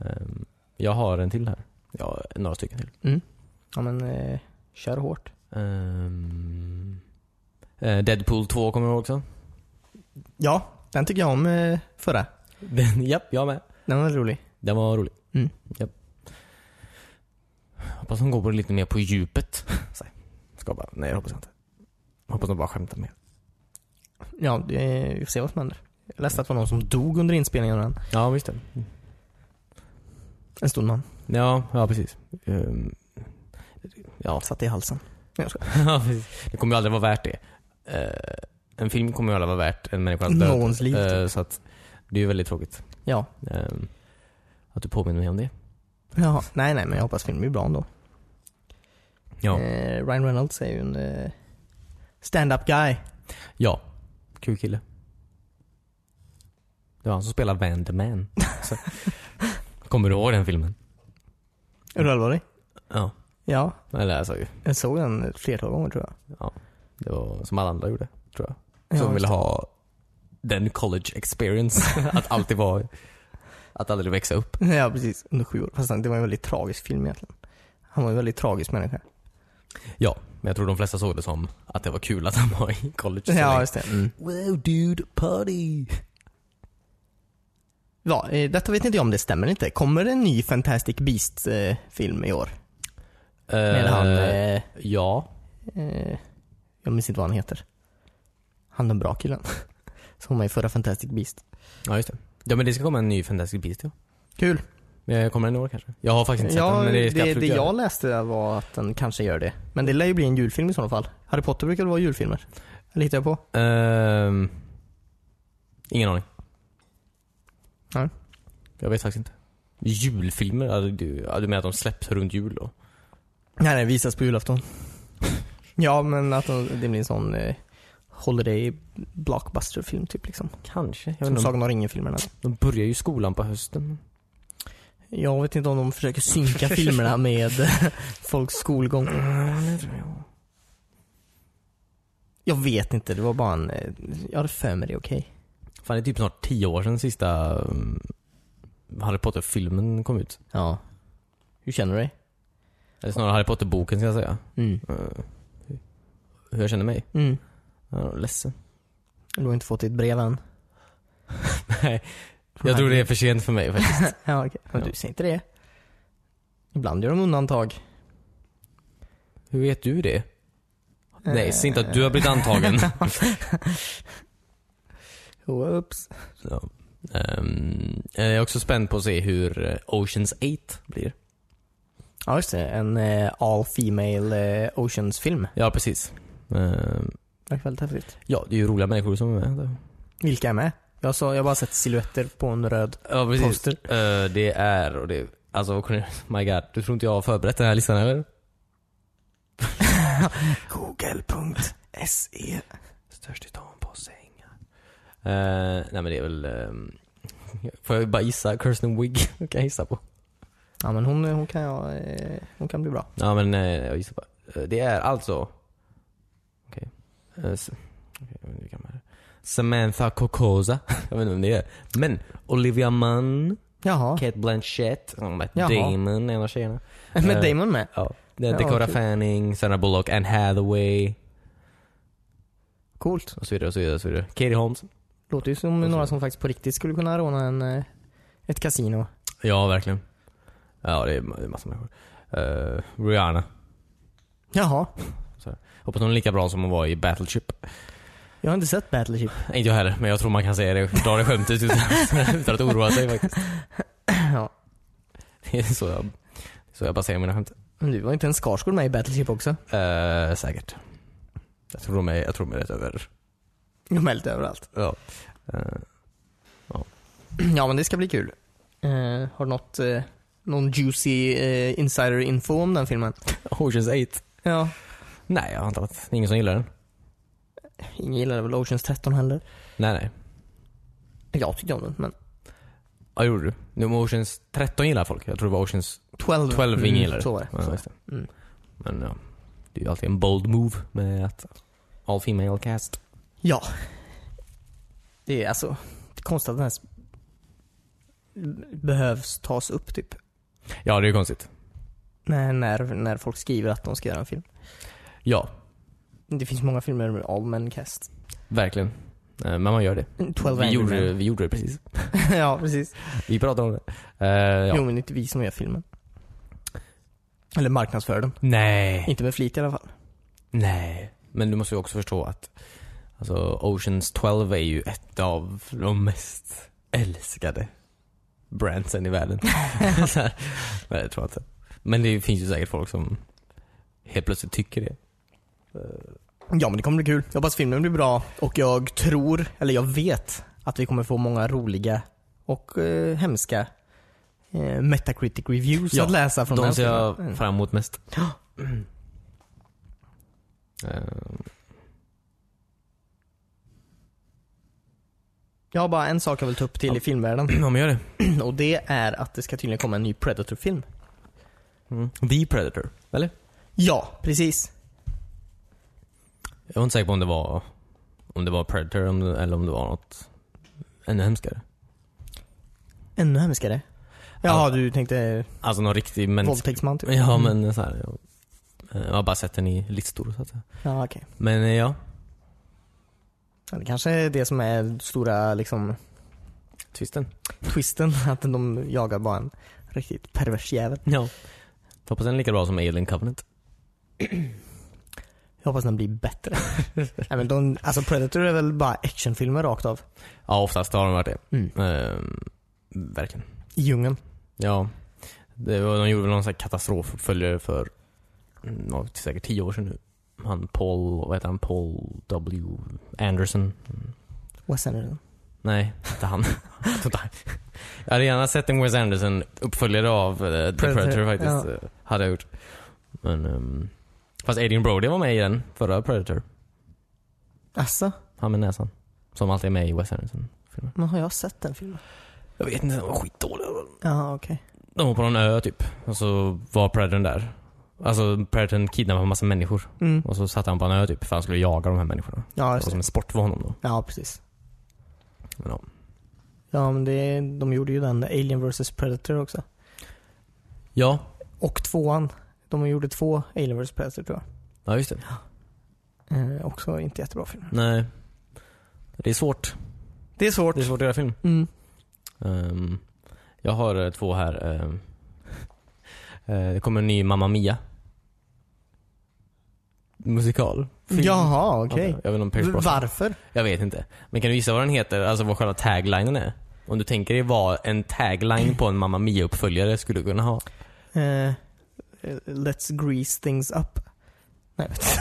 [SPEAKER 2] Ehm, Jag har en till här. Ja, några stycken till.
[SPEAKER 1] Ja, men eh, kör hårt.
[SPEAKER 2] Ehm, eh, Deadpool 2 kommer jag också.
[SPEAKER 1] Ja, den tycker jag om eh, förra.
[SPEAKER 2] Den, japp, jag med.
[SPEAKER 1] Den var rolig.
[SPEAKER 2] Den var rolig.
[SPEAKER 1] Mm.
[SPEAKER 2] Japp. Hoppas de går på det lite mer på djupet. <laughs> Så här. Ska bara, nej jag hoppas inte. Hoppas de bara skämtar mer.
[SPEAKER 1] Ja, det, vi får se vad som händer. Jag läste att det var någon som dog under inspelningen av den.
[SPEAKER 2] Ja, visst det.
[SPEAKER 1] En stor man.
[SPEAKER 2] Ja, ja precis. Ehm, ja.
[SPEAKER 1] Satt i halsen. Nej, jag skojar.
[SPEAKER 2] <laughs> Ja, precis. det kommer ju aldrig vara värt det. Eh, en film kommer ju aldrig vara värt en människas död.
[SPEAKER 1] Någons liv. typ.
[SPEAKER 2] Eh, så att det är ju väldigt tråkigt.
[SPEAKER 1] Ja.
[SPEAKER 2] Ehm, att du påminner mig om det.
[SPEAKER 1] Jaha. Nej, nej, men jag hoppas filmen blir bra ändå.
[SPEAKER 2] Ja.
[SPEAKER 1] Eh, Ryan Reynolds är ju en eh, stand-up guy.
[SPEAKER 2] ja. Kul kille. Det var han som spelade Van the <laughs> Man. Så. Kommer du ihåg den filmen?
[SPEAKER 1] Är du allvarlig?
[SPEAKER 2] Ja.
[SPEAKER 1] Ja,
[SPEAKER 2] Eller alltså,
[SPEAKER 1] jag såg den ett flertal gånger tror jag.
[SPEAKER 2] det var som alla andra gjorde, tror jag.
[SPEAKER 1] Ja,
[SPEAKER 2] som
[SPEAKER 1] just
[SPEAKER 2] ville
[SPEAKER 1] det.
[SPEAKER 2] ha den college
[SPEAKER 1] <laughs>
[SPEAKER 2] experience. att alltid vara, att aldrig växa upp.
[SPEAKER 1] Ja, precis. Under sju år. Fast det var en väldigt tragisk film egentligen. Han var en väldigt tragisk människa.
[SPEAKER 2] Ja, men jag tror de flesta såg det som att det var kul att han var i college så
[SPEAKER 1] ja,
[SPEAKER 2] länge.
[SPEAKER 1] just det. Mm.
[SPEAKER 2] Wow dude, party!
[SPEAKER 1] Ja, eh, detta vet inte jag om det stämmer inte. Kommer det en ny Fantastic Beast-film i år? Med han, eh,
[SPEAKER 2] ja.
[SPEAKER 1] eh, jag minns inte vad han heter. Han den bra killen. <laughs> Som var med i förra Fantastic Beast.
[SPEAKER 2] ja, just det. Ja men det ska komma en ny Fantastic Beast ja.
[SPEAKER 1] Kul.
[SPEAKER 2] Eh, Kommer den i år kanske? Jag har faktiskt inte sett
[SPEAKER 1] Ja,
[SPEAKER 2] den men det
[SPEAKER 1] det,
[SPEAKER 2] ska jag
[SPEAKER 1] det,
[SPEAKER 2] absolut göra.
[SPEAKER 1] jag läste var att den kanske gör det. Men det lär ju bli en julfilm i sådana fall. Harry Potter brukar väl vara julfilmer? Eller hittar jag på?
[SPEAKER 2] Ehm, ingen aning.
[SPEAKER 1] Nej.
[SPEAKER 2] Jag vet faktiskt inte. Julfilmer? Ja, du, ja, du menar att de släpps runt jul då?
[SPEAKER 1] Nej, den visas på julafton. <laughs> ja, men att de- det blir en sån eh, Holiday blockbuster-film typ liksom.
[SPEAKER 2] Kanske. Jag vet
[SPEAKER 1] Som
[SPEAKER 2] inte, om-
[SPEAKER 1] Sagan om ringen-filmerna.
[SPEAKER 2] de börjar ju skolan på hösten.
[SPEAKER 1] Jag vet inte om de försöker
[SPEAKER 2] <laughs>
[SPEAKER 1] synka filmerna med <laughs> folks skolgång. Jag vet inte, det var bara en... eh, Jag hade för mig det, okej?
[SPEAKER 2] Fan, det är typ snart tio år sedan sista um, Harry Potter-filmen kom ut.
[SPEAKER 1] Ja. Hur känner du dig?
[SPEAKER 2] Eller snarare Harry Potter-boken ska jag säga.
[SPEAKER 1] Mm.
[SPEAKER 2] Eh, hur jag känner mig?
[SPEAKER 1] Mm.
[SPEAKER 2] Jag är ledsen.
[SPEAKER 1] Du har inte fått ditt brev än?
[SPEAKER 2] <laughs> Nej, jag tror det är för sent för mig faktiskt.
[SPEAKER 1] <laughs> Ja, okej. Men
[SPEAKER 2] Ja.
[SPEAKER 1] du säger inte det. Ibland gör de undantag.
[SPEAKER 2] Hur vet du det? Nej,
[SPEAKER 1] Eh.
[SPEAKER 2] säg inte att du har
[SPEAKER 1] <laughs>
[SPEAKER 2] blivit antagen.
[SPEAKER 1] Oops.
[SPEAKER 2] Så, ehm, jag är också spänd på att se hur eh, Oceans 8 blir.
[SPEAKER 1] Ja, just det. En eh, all female eh, Oceans-film.
[SPEAKER 2] Ja, precis. Ehm,
[SPEAKER 1] Verkar väldigt häftigt.
[SPEAKER 2] ja, det är ju roliga människor som är med. där.
[SPEAKER 1] Vilka är med? Jag, sa, jag har bara sett silhuetter på en röd
[SPEAKER 2] Ja, precis.
[SPEAKER 1] poster.
[SPEAKER 2] Eh, det är, och det, alltså <laughs> Cornelius- my god. Du tror inte jag har förberett den här listan eller?
[SPEAKER 1] Google.se
[SPEAKER 2] Störst i stan på sängar. Eh, nej men det är väl, ehm, <laughs> får jag bara gissa? Kirsten Wigg <laughs> kan jag gissa på.
[SPEAKER 1] Ja men hon, hon, kan, jag, eh, hon kan bli bra.
[SPEAKER 2] Ja men eh, jag gissar bara. Eh, Det är alltså... Okej. Eh, Okay. Okay, Samantha Cocosa. <laughs> jag vet inte vem det är. Men Olivia Munn,
[SPEAKER 1] Jaha.
[SPEAKER 2] Kate Blanchett, oh, Matt
[SPEAKER 1] Jaha.
[SPEAKER 2] Damon, en av tjejerna.
[SPEAKER 1] Med
[SPEAKER 2] Eh,
[SPEAKER 1] Damon med?
[SPEAKER 2] Ja. Det är
[SPEAKER 1] Ja,
[SPEAKER 2] Dakota
[SPEAKER 1] kul.
[SPEAKER 2] Fanning, Sandra Bullock, Anne Hathaway
[SPEAKER 1] Coolt.
[SPEAKER 2] och så vidare och så vidare. Och så vidare. Katie Holmes.
[SPEAKER 1] Låter ju som några som faktiskt på riktigt skulle kunna råna en, eh, ett kasino.
[SPEAKER 2] Ja, verkligen. Ja, det är ma- det är massa människor. Eh, Rihanna.
[SPEAKER 1] Jaha.
[SPEAKER 2] Hoppas hon är lika bra som hon var i Battleship. <laughs>
[SPEAKER 1] Jag har inte sett Battleship.
[SPEAKER 2] Inte jag heller, men jag tror man kan säga det, dra det skämtet utan, <laughs> utan att oroa sig faktiskt.
[SPEAKER 1] <laughs> Ja.
[SPEAKER 2] Det är så jag, det är så jag baserar mina skämt.
[SPEAKER 1] Men du var inte en Skarsgård med i Battleship också?
[SPEAKER 2] Eh, säkert. Jag tror de är, jag tror de är rätt över.
[SPEAKER 1] De är lite överallt.
[SPEAKER 2] Ja. Eh,
[SPEAKER 1] <clears throat> Ja men det ska bli kul. Eh, har du något, eh, någon juicy eh, insider info om den filmen?
[SPEAKER 2] Oceans 8?
[SPEAKER 1] Ja.
[SPEAKER 2] Nej, jag har inte varit. Det är ingen som gillar den.
[SPEAKER 1] Ingen gillade väl Oceans 13 heller?
[SPEAKER 2] Nej, nej.
[SPEAKER 1] Jag tyckte om den men...
[SPEAKER 2] Ja, gjorde du? Nu var Oceans 13 gillar folk. Jag tror det var Oceans
[SPEAKER 1] 12.
[SPEAKER 2] 12 ingen gillar
[SPEAKER 1] Så var det.
[SPEAKER 2] Ja,
[SPEAKER 1] Så.
[SPEAKER 2] just det.
[SPEAKER 1] Mm.
[SPEAKER 2] Men ja, det är ju alltid en bold move med att all female cast.
[SPEAKER 1] Ja. Det är alltså det är konstigt att den ens behövs tas upp typ.
[SPEAKER 2] Ja, det är ju konstigt.
[SPEAKER 1] När, när, när folk skriver att de ska göra en film.
[SPEAKER 2] Ja,
[SPEAKER 1] Det finns många filmer med all men cast.
[SPEAKER 2] verkligen. Eh, Men man gör det.
[SPEAKER 1] 12
[SPEAKER 2] Vi
[SPEAKER 1] Angry
[SPEAKER 2] gjorde,
[SPEAKER 1] Men.
[SPEAKER 2] vi gjorde det precis.
[SPEAKER 1] <laughs> ja, precis.
[SPEAKER 2] Vi pratade om det. Eh, ja.
[SPEAKER 1] Jo, men det är inte vi som gör filmen. Eller marknadsför den.
[SPEAKER 2] Nej.
[SPEAKER 1] Inte med flit i alla fall.
[SPEAKER 2] Nej. Men du måste ju också förstå att alltså, Oceans 12 är ju ett av de mest älskade brandsen i <laughs> världen. Så här. Nej, det tror jag inte. Men det finns ju säkert folk som helt plötsligt tycker det.
[SPEAKER 1] Ja, men det kommer bli kul. Jag hoppas filmen blir bra och jag tror, eller jag vet, att vi kommer få många roliga och eh, hemska eh, Metacritic reviews
[SPEAKER 2] Ja,
[SPEAKER 1] att läsa från
[SPEAKER 2] De
[SPEAKER 1] den
[SPEAKER 2] ser jag
[SPEAKER 1] filmen. Mm.
[SPEAKER 2] fram emot mest. Eh,
[SPEAKER 1] Jag har bara en sak jag vill ta upp till i filmvärlden
[SPEAKER 2] <clears throat>
[SPEAKER 1] <clears throat>
[SPEAKER 2] Ja men gör det.
[SPEAKER 1] och det är att det ska tydligen komma en ny Predator-film.
[SPEAKER 2] Mm. The Predator, eller?
[SPEAKER 1] Ja, precis.
[SPEAKER 2] Jag var inte säker på om det var, om det var Predator om det, eller om det var något ännu hemskare.
[SPEAKER 1] Ännu hemskare. Jaha, du tänkte
[SPEAKER 2] Alltså någon riktig mänsklig...
[SPEAKER 1] våldtäktsman typ?
[SPEAKER 2] Ja men så här, jag, eh, jag har bara sett den i listor så att säga.
[SPEAKER 1] Ja, okej.
[SPEAKER 2] Men eh, ja,
[SPEAKER 1] Ja, Det kanske är det som är stora liksom
[SPEAKER 2] twisten.
[SPEAKER 1] twisten, <laughs> att de jagar bara en riktigt pervers jävel.
[SPEAKER 2] Ja. Hoppas den är lika bra som Alien Covenant.
[SPEAKER 1] Jag hoppas den blir <laughs> bättre. Nej, men de, alltså Predator är väl bara actionfilmer rakt av?
[SPEAKER 2] Ja oftast har den varit det.
[SPEAKER 1] Mm.
[SPEAKER 2] Ehm, verkligen.
[SPEAKER 1] I djungeln.
[SPEAKER 2] Ja. Det var, de gjorde väl någon sån här katastrofuppföljare för, mm, ja, säkert tio år sedan nu. Han Paul, vad heter han? Paul W. Anderson.
[SPEAKER 1] Wes Anderson.
[SPEAKER 2] Nej, <laughs> inte han. Jag tror inte han- Jag hade gärna sett en Wes Anderson uppföljare av eh, The
[SPEAKER 1] Predator,
[SPEAKER 2] Predator, faktiskt. eh, Hade jag gjort. Men, ehm, fast Adrian Brody var med i den förra Predator.
[SPEAKER 1] Alltså,
[SPEAKER 2] Han med näsan. Som alltid är med i Wes Anderson.
[SPEAKER 1] men har jag sett den filmen?
[SPEAKER 2] Jag vet inte, den var skitdålig.
[SPEAKER 1] Ja, okej.
[SPEAKER 2] De var på någon ö typ. Och så var Predatorn där. Alltså Predatorn kidnappade en massa människor.
[SPEAKER 1] Mm.
[SPEAKER 2] Och så satte han på en ö typ för han skulle jaga de här människorna.
[SPEAKER 1] Ja,
[SPEAKER 2] Det var
[SPEAKER 1] just
[SPEAKER 2] som
[SPEAKER 1] det.
[SPEAKER 2] en sport för honom då.
[SPEAKER 1] Ja, precis.
[SPEAKER 2] Men, ja.
[SPEAKER 1] Ja, men det, de gjorde ju den Alien vs Predator också.
[SPEAKER 2] ja.
[SPEAKER 1] Och tvåan. De gjorde två Alien vs Predator tror
[SPEAKER 2] Ja, just det.
[SPEAKER 1] jag. Eh, också inte jättebra filmer.
[SPEAKER 2] Nej. Det är svårt.
[SPEAKER 1] Det är svårt.
[SPEAKER 2] Det är svårt att göra film.
[SPEAKER 1] Mm.
[SPEAKER 2] Ehm, jag har eh, två här. ehm. <laughs> Eh, det kommer en ny Mamma Mia. Musikal. Film.
[SPEAKER 1] Jaha, okej.
[SPEAKER 2] Antar Jag Jag vet inte om Pierce
[SPEAKER 1] V-
[SPEAKER 2] Brosnan-
[SPEAKER 1] Varför?
[SPEAKER 2] Jag vet inte. Men kan du gissa vad den heter? Alltså vad själva taglinen är? Om du tänker dig vad en tagline på en Mamma Mia-uppföljare skulle kunna ha.
[SPEAKER 1] Eh, eh, let's grease things up. Nej, vet <laughs> inte.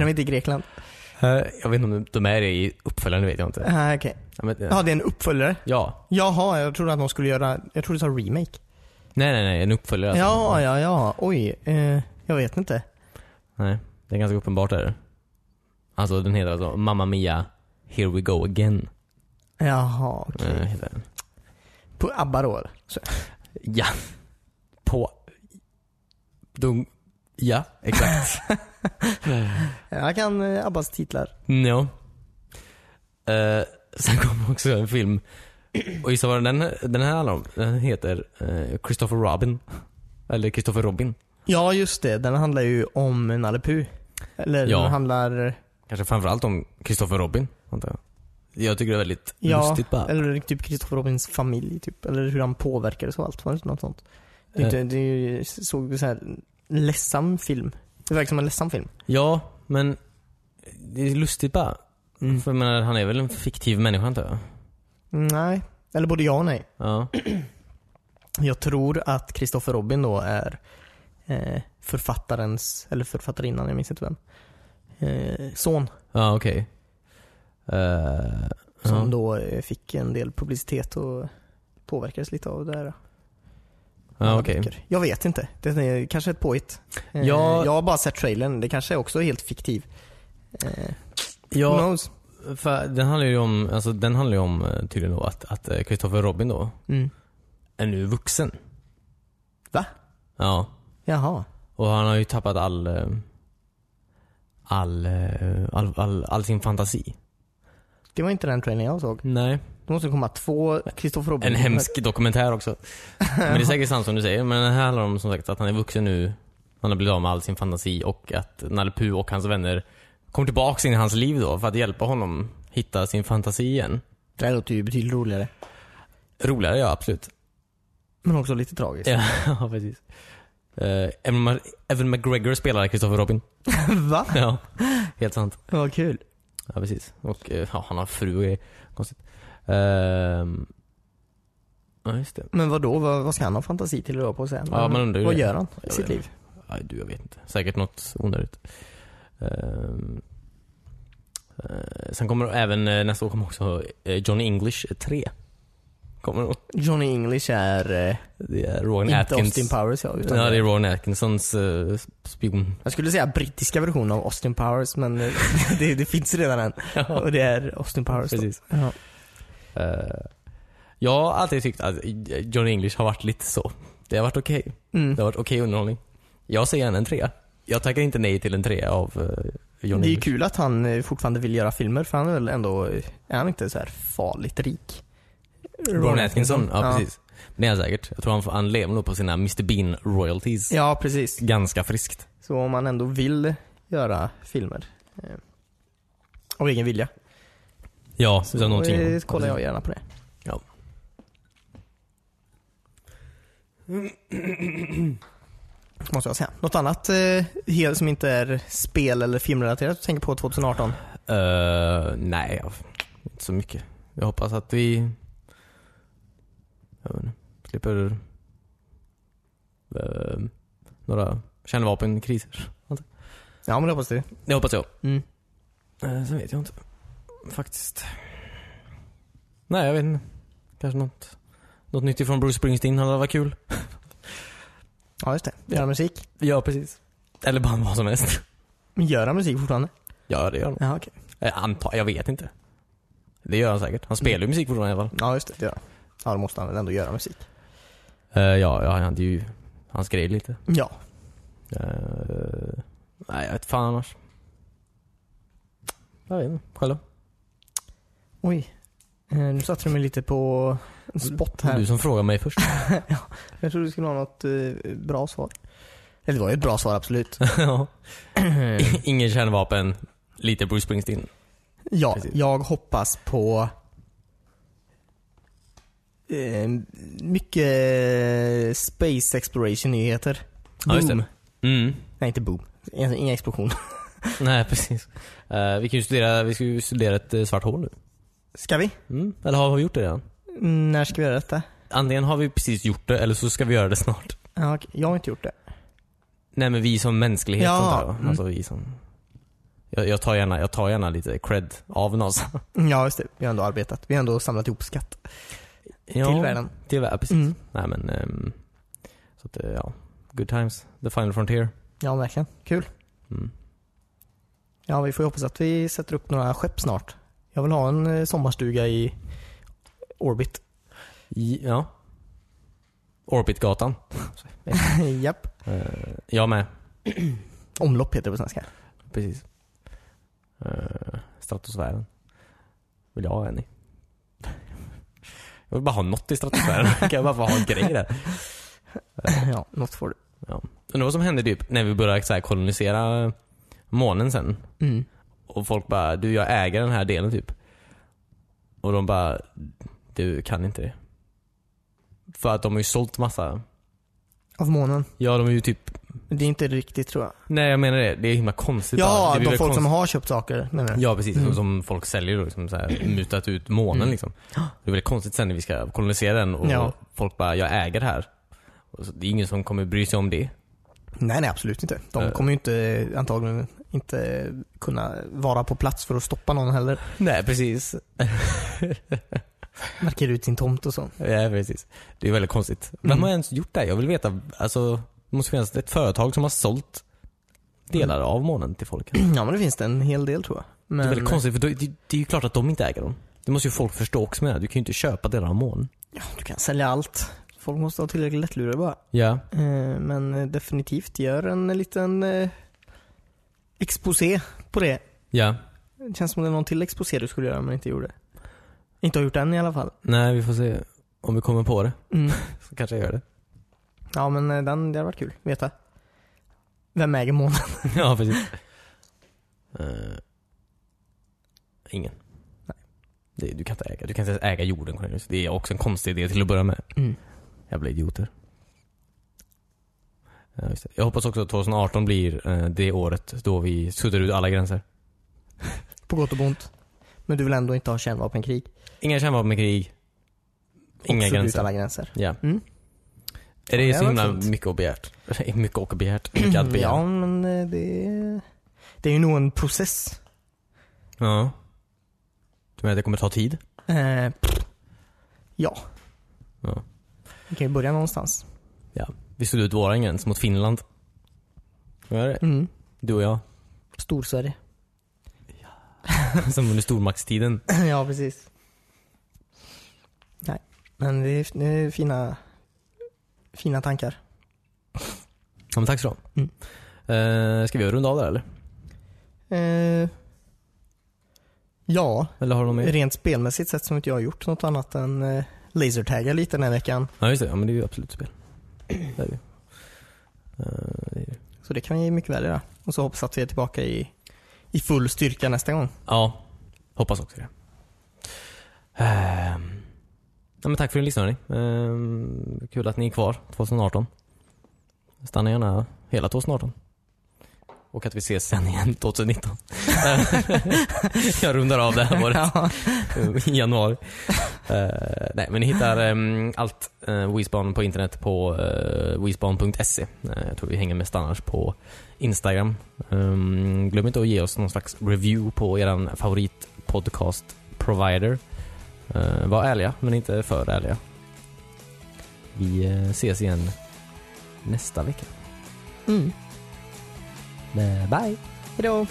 [SPEAKER 1] Är de inte i Grekland?
[SPEAKER 2] Eh, jag vet inte om de är det i uppföljaren, det vet jag inte.
[SPEAKER 1] Ah, okej.
[SPEAKER 2] Ja, men, eh,
[SPEAKER 1] Ja, det är en uppföljare.
[SPEAKER 2] ja.
[SPEAKER 1] Jaha, jag trodde att de skulle göra... Jag trodde du sa remake.
[SPEAKER 2] Nej, nej, nej. En uppföljare
[SPEAKER 1] Ja,
[SPEAKER 2] alltså.
[SPEAKER 1] ja, ja. Oj. Eh, jag vet inte.
[SPEAKER 2] Nej, det är ganska uppenbart är det. Alltså den heter alltså Mamma Mia Here We Go Again.
[SPEAKER 1] Jaha, okej.
[SPEAKER 2] Eh, heter den.
[SPEAKER 1] På ABBA då? eller? Så-
[SPEAKER 2] Ja. På... Dung... Ja, <laughs> exakt.
[SPEAKER 1] Jag kan eh, Abbas titlar.
[SPEAKER 2] no. Eh, sen kommer också en film. Och gissa vad den, den här handlar om? Den heter eh, Christopher Robin. Eller Christopher Robin.
[SPEAKER 1] Ja, just det. Den handlar ju om Nalle Puh. Eller
[SPEAKER 2] Ja.
[SPEAKER 1] den handlar...
[SPEAKER 2] Kanske framförallt om Christopher Robin, antar jag. Jag tycker det är väldigt
[SPEAKER 1] Ja,
[SPEAKER 2] lustigt bara.
[SPEAKER 1] eller typ Kristoffer Robins familj typ. Eller hur han påverkades och allt. Var det inte något sånt? Det, är
[SPEAKER 2] Eh.
[SPEAKER 1] inte- det är ju- såg så här ledsam film. Det verkar som en ledsam film.
[SPEAKER 2] Ja, men det är lustigt bara.
[SPEAKER 1] Mm.
[SPEAKER 2] För jag menar, han är väl en fiktiv människa antar jag?
[SPEAKER 1] Nej. Eller både ja och nej.
[SPEAKER 2] Ja.
[SPEAKER 1] Jag tror att Kristoffer Robin då är eh, författarens, eller författarinnan, jag minns inte vem. Eh, son.
[SPEAKER 2] Ja, okej. Eh,
[SPEAKER 1] Som
[SPEAKER 2] ja.
[SPEAKER 1] då eh, fick en del publicitet och påverkades lite av det här. eh,
[SPEAKER 2] Ja, okej.
[SPEAKER 1] Jag vet inte. Det är kanske ett påhitt. Eh,
[SPEAKER 2] Ja.
[SPEAKER 1] Jag har bara sett trailern. Det kanske också är helt fiktiv. Eh, Who
[SPEAKER 2] Ja,
[SPEAKER 1] knows?
[SPEAKER 2] för den handlar ju om, alltså, den handlar ju om eh, tydligen då att, att eh, Christopher Robin då
[SPEAKER 1] Mm.
[SPEAKER 2] är nu vuxen.
[SPEAKER 1] Va?
[SPEAKER 2] Ja.
[SPEAKER 1] Jaha.
[SPEAKER 2] Och han har ju tappat all, eh, all, eh, all, all, all sin fantasi.
[SPEAKER 1] Det var inte den trailern jag såg.
[SPEAKER 2] Nej.
[SPEAKER 1] Det måste komma två Kristoffer Robin
[SPEAKER 2] En hemsk dokumentär också. Men det är säkert sant som du säger, men det här handlar om som sagt att han är vuxen nu. Han har blivit av med all sin fantasi och att Nalle Puh och hans vänner kommer tillbaks in i hans liv då för att hjälpa honom hitta sin fantasi igen.
[SPEAKER 1] Det här låter ju betydligt roligare.
[SPEAKER 2] Roligare ja, absolut.
[SPEAKER 1] Men också lite tragiskt.
[SPEAKER 2] Ja, <laughs> precis. Eh, Evan, Ma- Evan McGregor spelar
[SPEAKER 1] <laughs>
[SPEAKER 2] Christopher Robin.
[SPEAKER 1] <laughs> Va?
[SPEAKER 2] Ja, helt sant.
[SPEAKER 1] Vad kul.
[SPEAKER 2] Ja, precis. Och eh, ja, han har fru och grejer. Konstigt. Ehm, ja, just det.
[SPEAKER 1] Men vad då? Vad, vad ska han ha fantasi till att röra på sig?
[SPEAKER 2] Ja, man undrar ju
[SPEAKER 1] Vad
[SPEAKER 2] det.
[SPEAKER 1] gör han i
[SPEAKER 2] Jag
[SPEAKER 1] sitt
[SPEAKER 2] vet
[SPEAKER 1] liv?
[SPEAKER 2] Nej, du, jag vet inte. Säkert något onödigt. Ehm, eh, sen kommer även eh, nästa år kommer också eh, Johnny English 3. Kommer nog.
[SPEAKER 1] Johnny English är eh,
[SPEAKER 2] Det är Rowan
[SPEAKER 1] inte
[SPEAKER 2] Atkins.
[SPEAKER 1] Austin Powers ja, utan
[SPEAKER 2] Ja, det är Rowan Atkinsons eh, spion. <laughs>
[SPEAKER 1] Jag skulle säga brittiska version av Austin Powers men eh, <laughs> det, det finns redan en. Och det är Austin Powers då.
[SPEAKER 2] Precis.
[SPEAKER 1] Ja.
[SPEAKER 2] Eh, jag har alltid tyckt att Johnny English har varit lite så. Det har varit okej.
[SPEAKER 1] Mm.
[SPEAKER 2] Det har varit okej underhållning. Jag ser gärna en trea. Jag tackar inte nej till en trea av eh, Johnny
[SPEAKER 1] Det är ju
[SPEAKER 2] English.
[SPEAKER 1] kul att han eh, fortfarande vill göra filmer för han är väl ändå, eh, är han inte så här farligt rik?
[SPEAKER 2] Ron Atkinson, ja, precis. Det är han säkert. Jag tror han, får- han lever nog på sina Mr Bean royalties.
[SPEAKER 1] Ja precis.
[SPEAKER 2] Ganska friskt.
[SPEAKER 1] Så om man ändå vill göra filmer eh, av egen vilja
[SPEAKER 2] Ja,
[SPEAKER 1] så
[SPEAKER 2] utan någonting.
[SPEAKER 1] eh, kollar jag gärna på det.
[SPEAKER 2] Ja.
[SPEAKER 1] <clears throat> Måste jag säga. Något annat eh, helt som inte är spel eller filmrelaterat du tänker på 2018?
[SPEAKER 2] Eh, nej, jag- inte så mycket. Jag hoppas att vi jag vet inte, slipper eh, några kärnvapenkriser.
[SPEAKER 1] Ja men det hoppas du.
[SPEAKER 2] Det hoppas jag.
[SPEAKER 1] Mm.
[SPEAKER 2] Uh, sen vet jag inte. Faktiskt. Nej, jag vet inte. Kanske något Något nytt ifrån Bruce Springsteen hade varit kul.
[SPEAKER 1] Ja, just det. Göra musik.
[SPEAKER 2] Ja, precis. Eller band vad som helst.
[SPEAKER 1] Göra musik fortfarande?
[SPEAKER 2] Ja, det gör han.
[SPEAKER 1] Ja, okej.
[SPEAKER 2] Jag antar, jag vet inte. Det gör han säkert. Han spelar ju musik fortfarande i alla fall.
[SPEAKER 1] Ja, just det. Det gör han. Ja, då måste han väl ändå göra musik.
[SPEAKER 2] Eh, ja, ja, han, det är ju, han skrev lite.
[SPEAKER 1] Ja.
[SPEAKER 2] Eh, nej, jag vet fan annars. Jag vet inte. Själv då?
[SPEAKER 1] Oj. Eh, Nu satte du mig lite på en spot här.
[SPEAKER 2] Du som frågar
[SPEAKER 1] <laughs>
[SPEAKER 2] mig först.
[SPEAKER 1] Jag trodde du skulle ha något eh, bra svar. Eller det var ju ett bra svar, absolut.
[SPEAKER 2] ja. <laughs> Ingen kärnvapen, lite Bruce Springsteen.
[SPEAKER 1] Ja,
[SPEAKER 2] Precis.
[SPEAKER 1] jag hoppas på eh, mycket space exploration nyheter.
[SPEAKER 2] Ja, just det.
[SPEAKER 1] Boom.
[SPEAKER 2] Mm.
[SPEAKER 1] Nej, inte boom. Alltså, Inga explosioner.
[SPEAKER 2] Nej, precis. Eh, vi, kan ju studera, vi ska ju studera ett eh, svart hål nu.
[SPEAKER 1] <laughs> Ska vi?
[SPEAKER 2] Mm. Eller har vi gjort det redan?
[SPEAKER 1] När ska vi göra detta?
[SPEAKER 2] Antingen har vi precis gjort det, eller så ska vi göra det snart.
[SPEAKER 1] Ja, okej. Jag har inte gjort det.
[SPEAKER 2] Nej men vi som mänsklighet
[SPEAKER 1] Ja,
[SPEAKER 2] antar jag.
[SPEAKER 1] mm.
[SPEAKER 2] Alltså vi som... Jag, jag, tar gärna, jag tar gärna lite cred av NASA.
[SPEAKER 1] Ja, just det. Vi har ändå arbetat. Vi har ändå samlat ihop skatt
[SPEAKER 2] Ja,
[SPEAKER 1] till världen.
[SPEAKER 2] Till världen, precis.
[SPEAKER 1] Mm.
[SPEAKER 2] Nej men... ehm, så att, eh, ja. Good times. The final frontier.
[SPEAKER 1] Ja, verkligen. Kul.
[SPEAKER 2] Mm.
[SPEAKER 1] Ja, vi får ju hoppas att vi sätter upp några skepp snart. Jag vill ha en eh, sommarstuga i
[SPEAKER 2] <laughs>
[SPEAKER 1] Orbit.
[SPEAKER 2] I, ja. Orbitgatan.
[SPEAKER 1] Japp.
[SPEAKER 2] Eh, jag med.
[SPEAKER 1] Omlopp heter det på svenska.
[SPEAKER 2] Precis. Uh, stratosfären. Vill jag ha en i. Jag vill bara ha något i stratosfären. kan jag bara få ha en grej där.
[SPEAKER 1] <laughs> ja, något får
[SPEAKER 2] Undrar vad som hände typ när vi började så här kolonisera månen sen.
[SPEAKER 1] du. Mm.
[SPEAKER 2] Och folk bara, du jag äger den här delen typ. Och de bara, du kan inte det. För att de har ju sålt massa.
[SPEAKER 1] Av månen.
[SPEAKER 2] Ja de är ju typ,
[SPEAKER 1] Det är inte riktigt tror jag.
[SPEAKER 2] nej jag menar det, det är himla konstigt. bara.
[SPEAKER 1] Ja,
[SPEAKER 2] det
[SPEAKER 1] de
[SPEAKER 2] blir
[SPEAKER 1] folk
[SPEAKER 2] väl
[SPEAKER 1] som
[SPEAKER 2] konst-
[SPEAKER 1] har köpt saker menar du?
[SPEAKER 2] Ja precis, som- som folk säljer då, liksom så här, mutat ut månen
[SPEAKER 1] Mm.
[SPEAKER 2] liksom. Det är väldigt konstigt sen när vi ska kolonisera den och
[SPEAKER 1] Ja.
[SPEAKER 2] folk bara, jag äger det här. Och så, det är ingen som kommer bry sig om det.
[SPEAKER 1] Nej, nej absolut inte.
[SPEAKER 2] Eh.
[SPEAKER 1] De kommer ju inte antagligen inte kunna vara på plats för att stoppa någon heller.
[SPEAKER 2] Nej precis.
[SPEAKER 1] Markera ut sin tomt och så.
[SPEAKER 2] Ja, precis. Det är väldigt konstigt. Vem
[SPEAKER 1] Mm.
[SPEAKER 2] har ens gjort det här? Jag vill veta. Alltså, det måste finnas ett företag som har sålt delar av månen till folk.
[SPEAKER 1] <clears throat> Ja men det finns det en hel del tror jag.
[SPEAKER 2] Det
[SPEAKER 1] Men,
[SPEAKER 2] är väldigt konstigt för då- det, det är ju klart att de inte äger dem. Det måste ju folk förstå också med. Du kan ju inte köpa delar av månen.
[SPEAKER 1] ja, du kan sälja allt. Folk måste ha tillräckligt lättlurade bara.
[SPEAKER 2] Ja.
[SPEAKER 1] Eh, Men eh, definitivt gör en liten eh, exposé på det.
[SPEAKER 2] Ja.
[SPEAKER 1] Det känns som det är någon till exposé du skulle göra men inte gjorde. Inte har gjort än i alla fall.
[SPEAKER 2] Nej, vi får se om vi kommer på det.
[SPEAKER 1] Mm.
[SPEAKER 2] Så kanske jag gör det.
[SPEAKER 1] Ja men eh, den, det hade varit kul att veta. Vem äger månen?
[SPEAKER 2] <laughs>
[SPEAKER 1] <laughs>
[SPEAKER 2] ja, precis. Eh, ingen.
[SPEAKER 1] Nej.
[SPEAKER 2] Det, du kan inte äga. Du kan inte ens äga jorden Cornelius. Det är också en konstig idé till att börja med. Jävla idioter. Ja, just det. Jag hoppas också att 2018 blir eh, det året då vi suddar ut alla gränser.
[SPEAKER 1] På gott och ont. Men du vill ändå inte ha kärnvapenkrig?
[SPEAKER 2] Inga kärnvapenkrig. Inga
[SPEAKER 1] Absolut
[SPEAKER 2] gränser.
[SPEAKER 1] alla gränser.
[SPEAKER 2] Ja.
[SPEAKER 1] Mm.
[SPEAKER 2] Är det
[SPEAKER 1] Ja,
[SPEAKER 2] så
[SPEAKER 1] det var
[SPEAKER 2] himla
[SPEAKER 1] fint. Mm,
[SPEAKER 2] mycket och begärt? <laughs> mycket och begärt. <clears throat> Mycket att begära.
[SPEAKER 1] Ja men eh, det är, det är ju nog en process.
[SPEAKER 2] Ja. Du menar att det kommer ta tid?
[SPEAKER 1] Eh, pff. ja.
[SPEAKER 2] Ja.
[SPEAKER 1] Vi kan ju börja någonstans.
[SPEAKER 2] Ja. Vi suddar ut våran gräns mot Finland. Vad är det?
[SPEAKER 1] Mm.
[SPEAKER 2] Du och jag. <laughs>
[SPEAKER 1] Storsverige. <clears throat>
[SPEAKER 2] Som under stormaktstiden.
[SPEAKER 1] ja precis. Nej. Men det är, det är fina, fina tankar.
[SPEAKER 2] Ja, men tack så du
[SPEAKER 1] Mm.
[SPEAKER 2] uh, Ska vi runda av där eller?
[SPEAKER 1] Eh, ja,
[SPEAKER 2] Eller har du något mer?
[SPEAKER 1] rent spelmässigt sett som inte jag har gjort något annat än eh, lasertagga lite den här veckan.
[SPEAKER 2] Ja just det, ja, men det är ju absolut spel. Det är det ju. Eh, det är ju.
[SPEAKER 1] Så det kan vi mycket väl göra. Och så hoppas att vi är tillbaka i, i full styrka nästa gång.
[SPEAKER 2] Ja, hoppas också det. Ehm. Ja, men tack för din lyssning hörni. Ehm, Kul att ni är kvar 2018. Stanna gärna hela 2018. Och att vi ses sen igen 2019. Ehm, <laughs> Jag rundar av det här året
[SPEAKER 1] Ja.
[SPEAKER 2] i januari. Eh, nej, men ni hittar ehm, allt uh, Wispan på internet på uh, wispan.se. Eh, jag tror vi hänger mest annars på Instagram. Ehm, glöm inte att ge oss någon slags review på er Ehm, favoritpodcast provider. Eh, var ärliga, men inte för ärliga. Vi eh, ses igen nästa vecka.
[SPEAKER 1] Mm.
[SPEAKER 2] Bye!
[SPEAKER 1] Hejdå!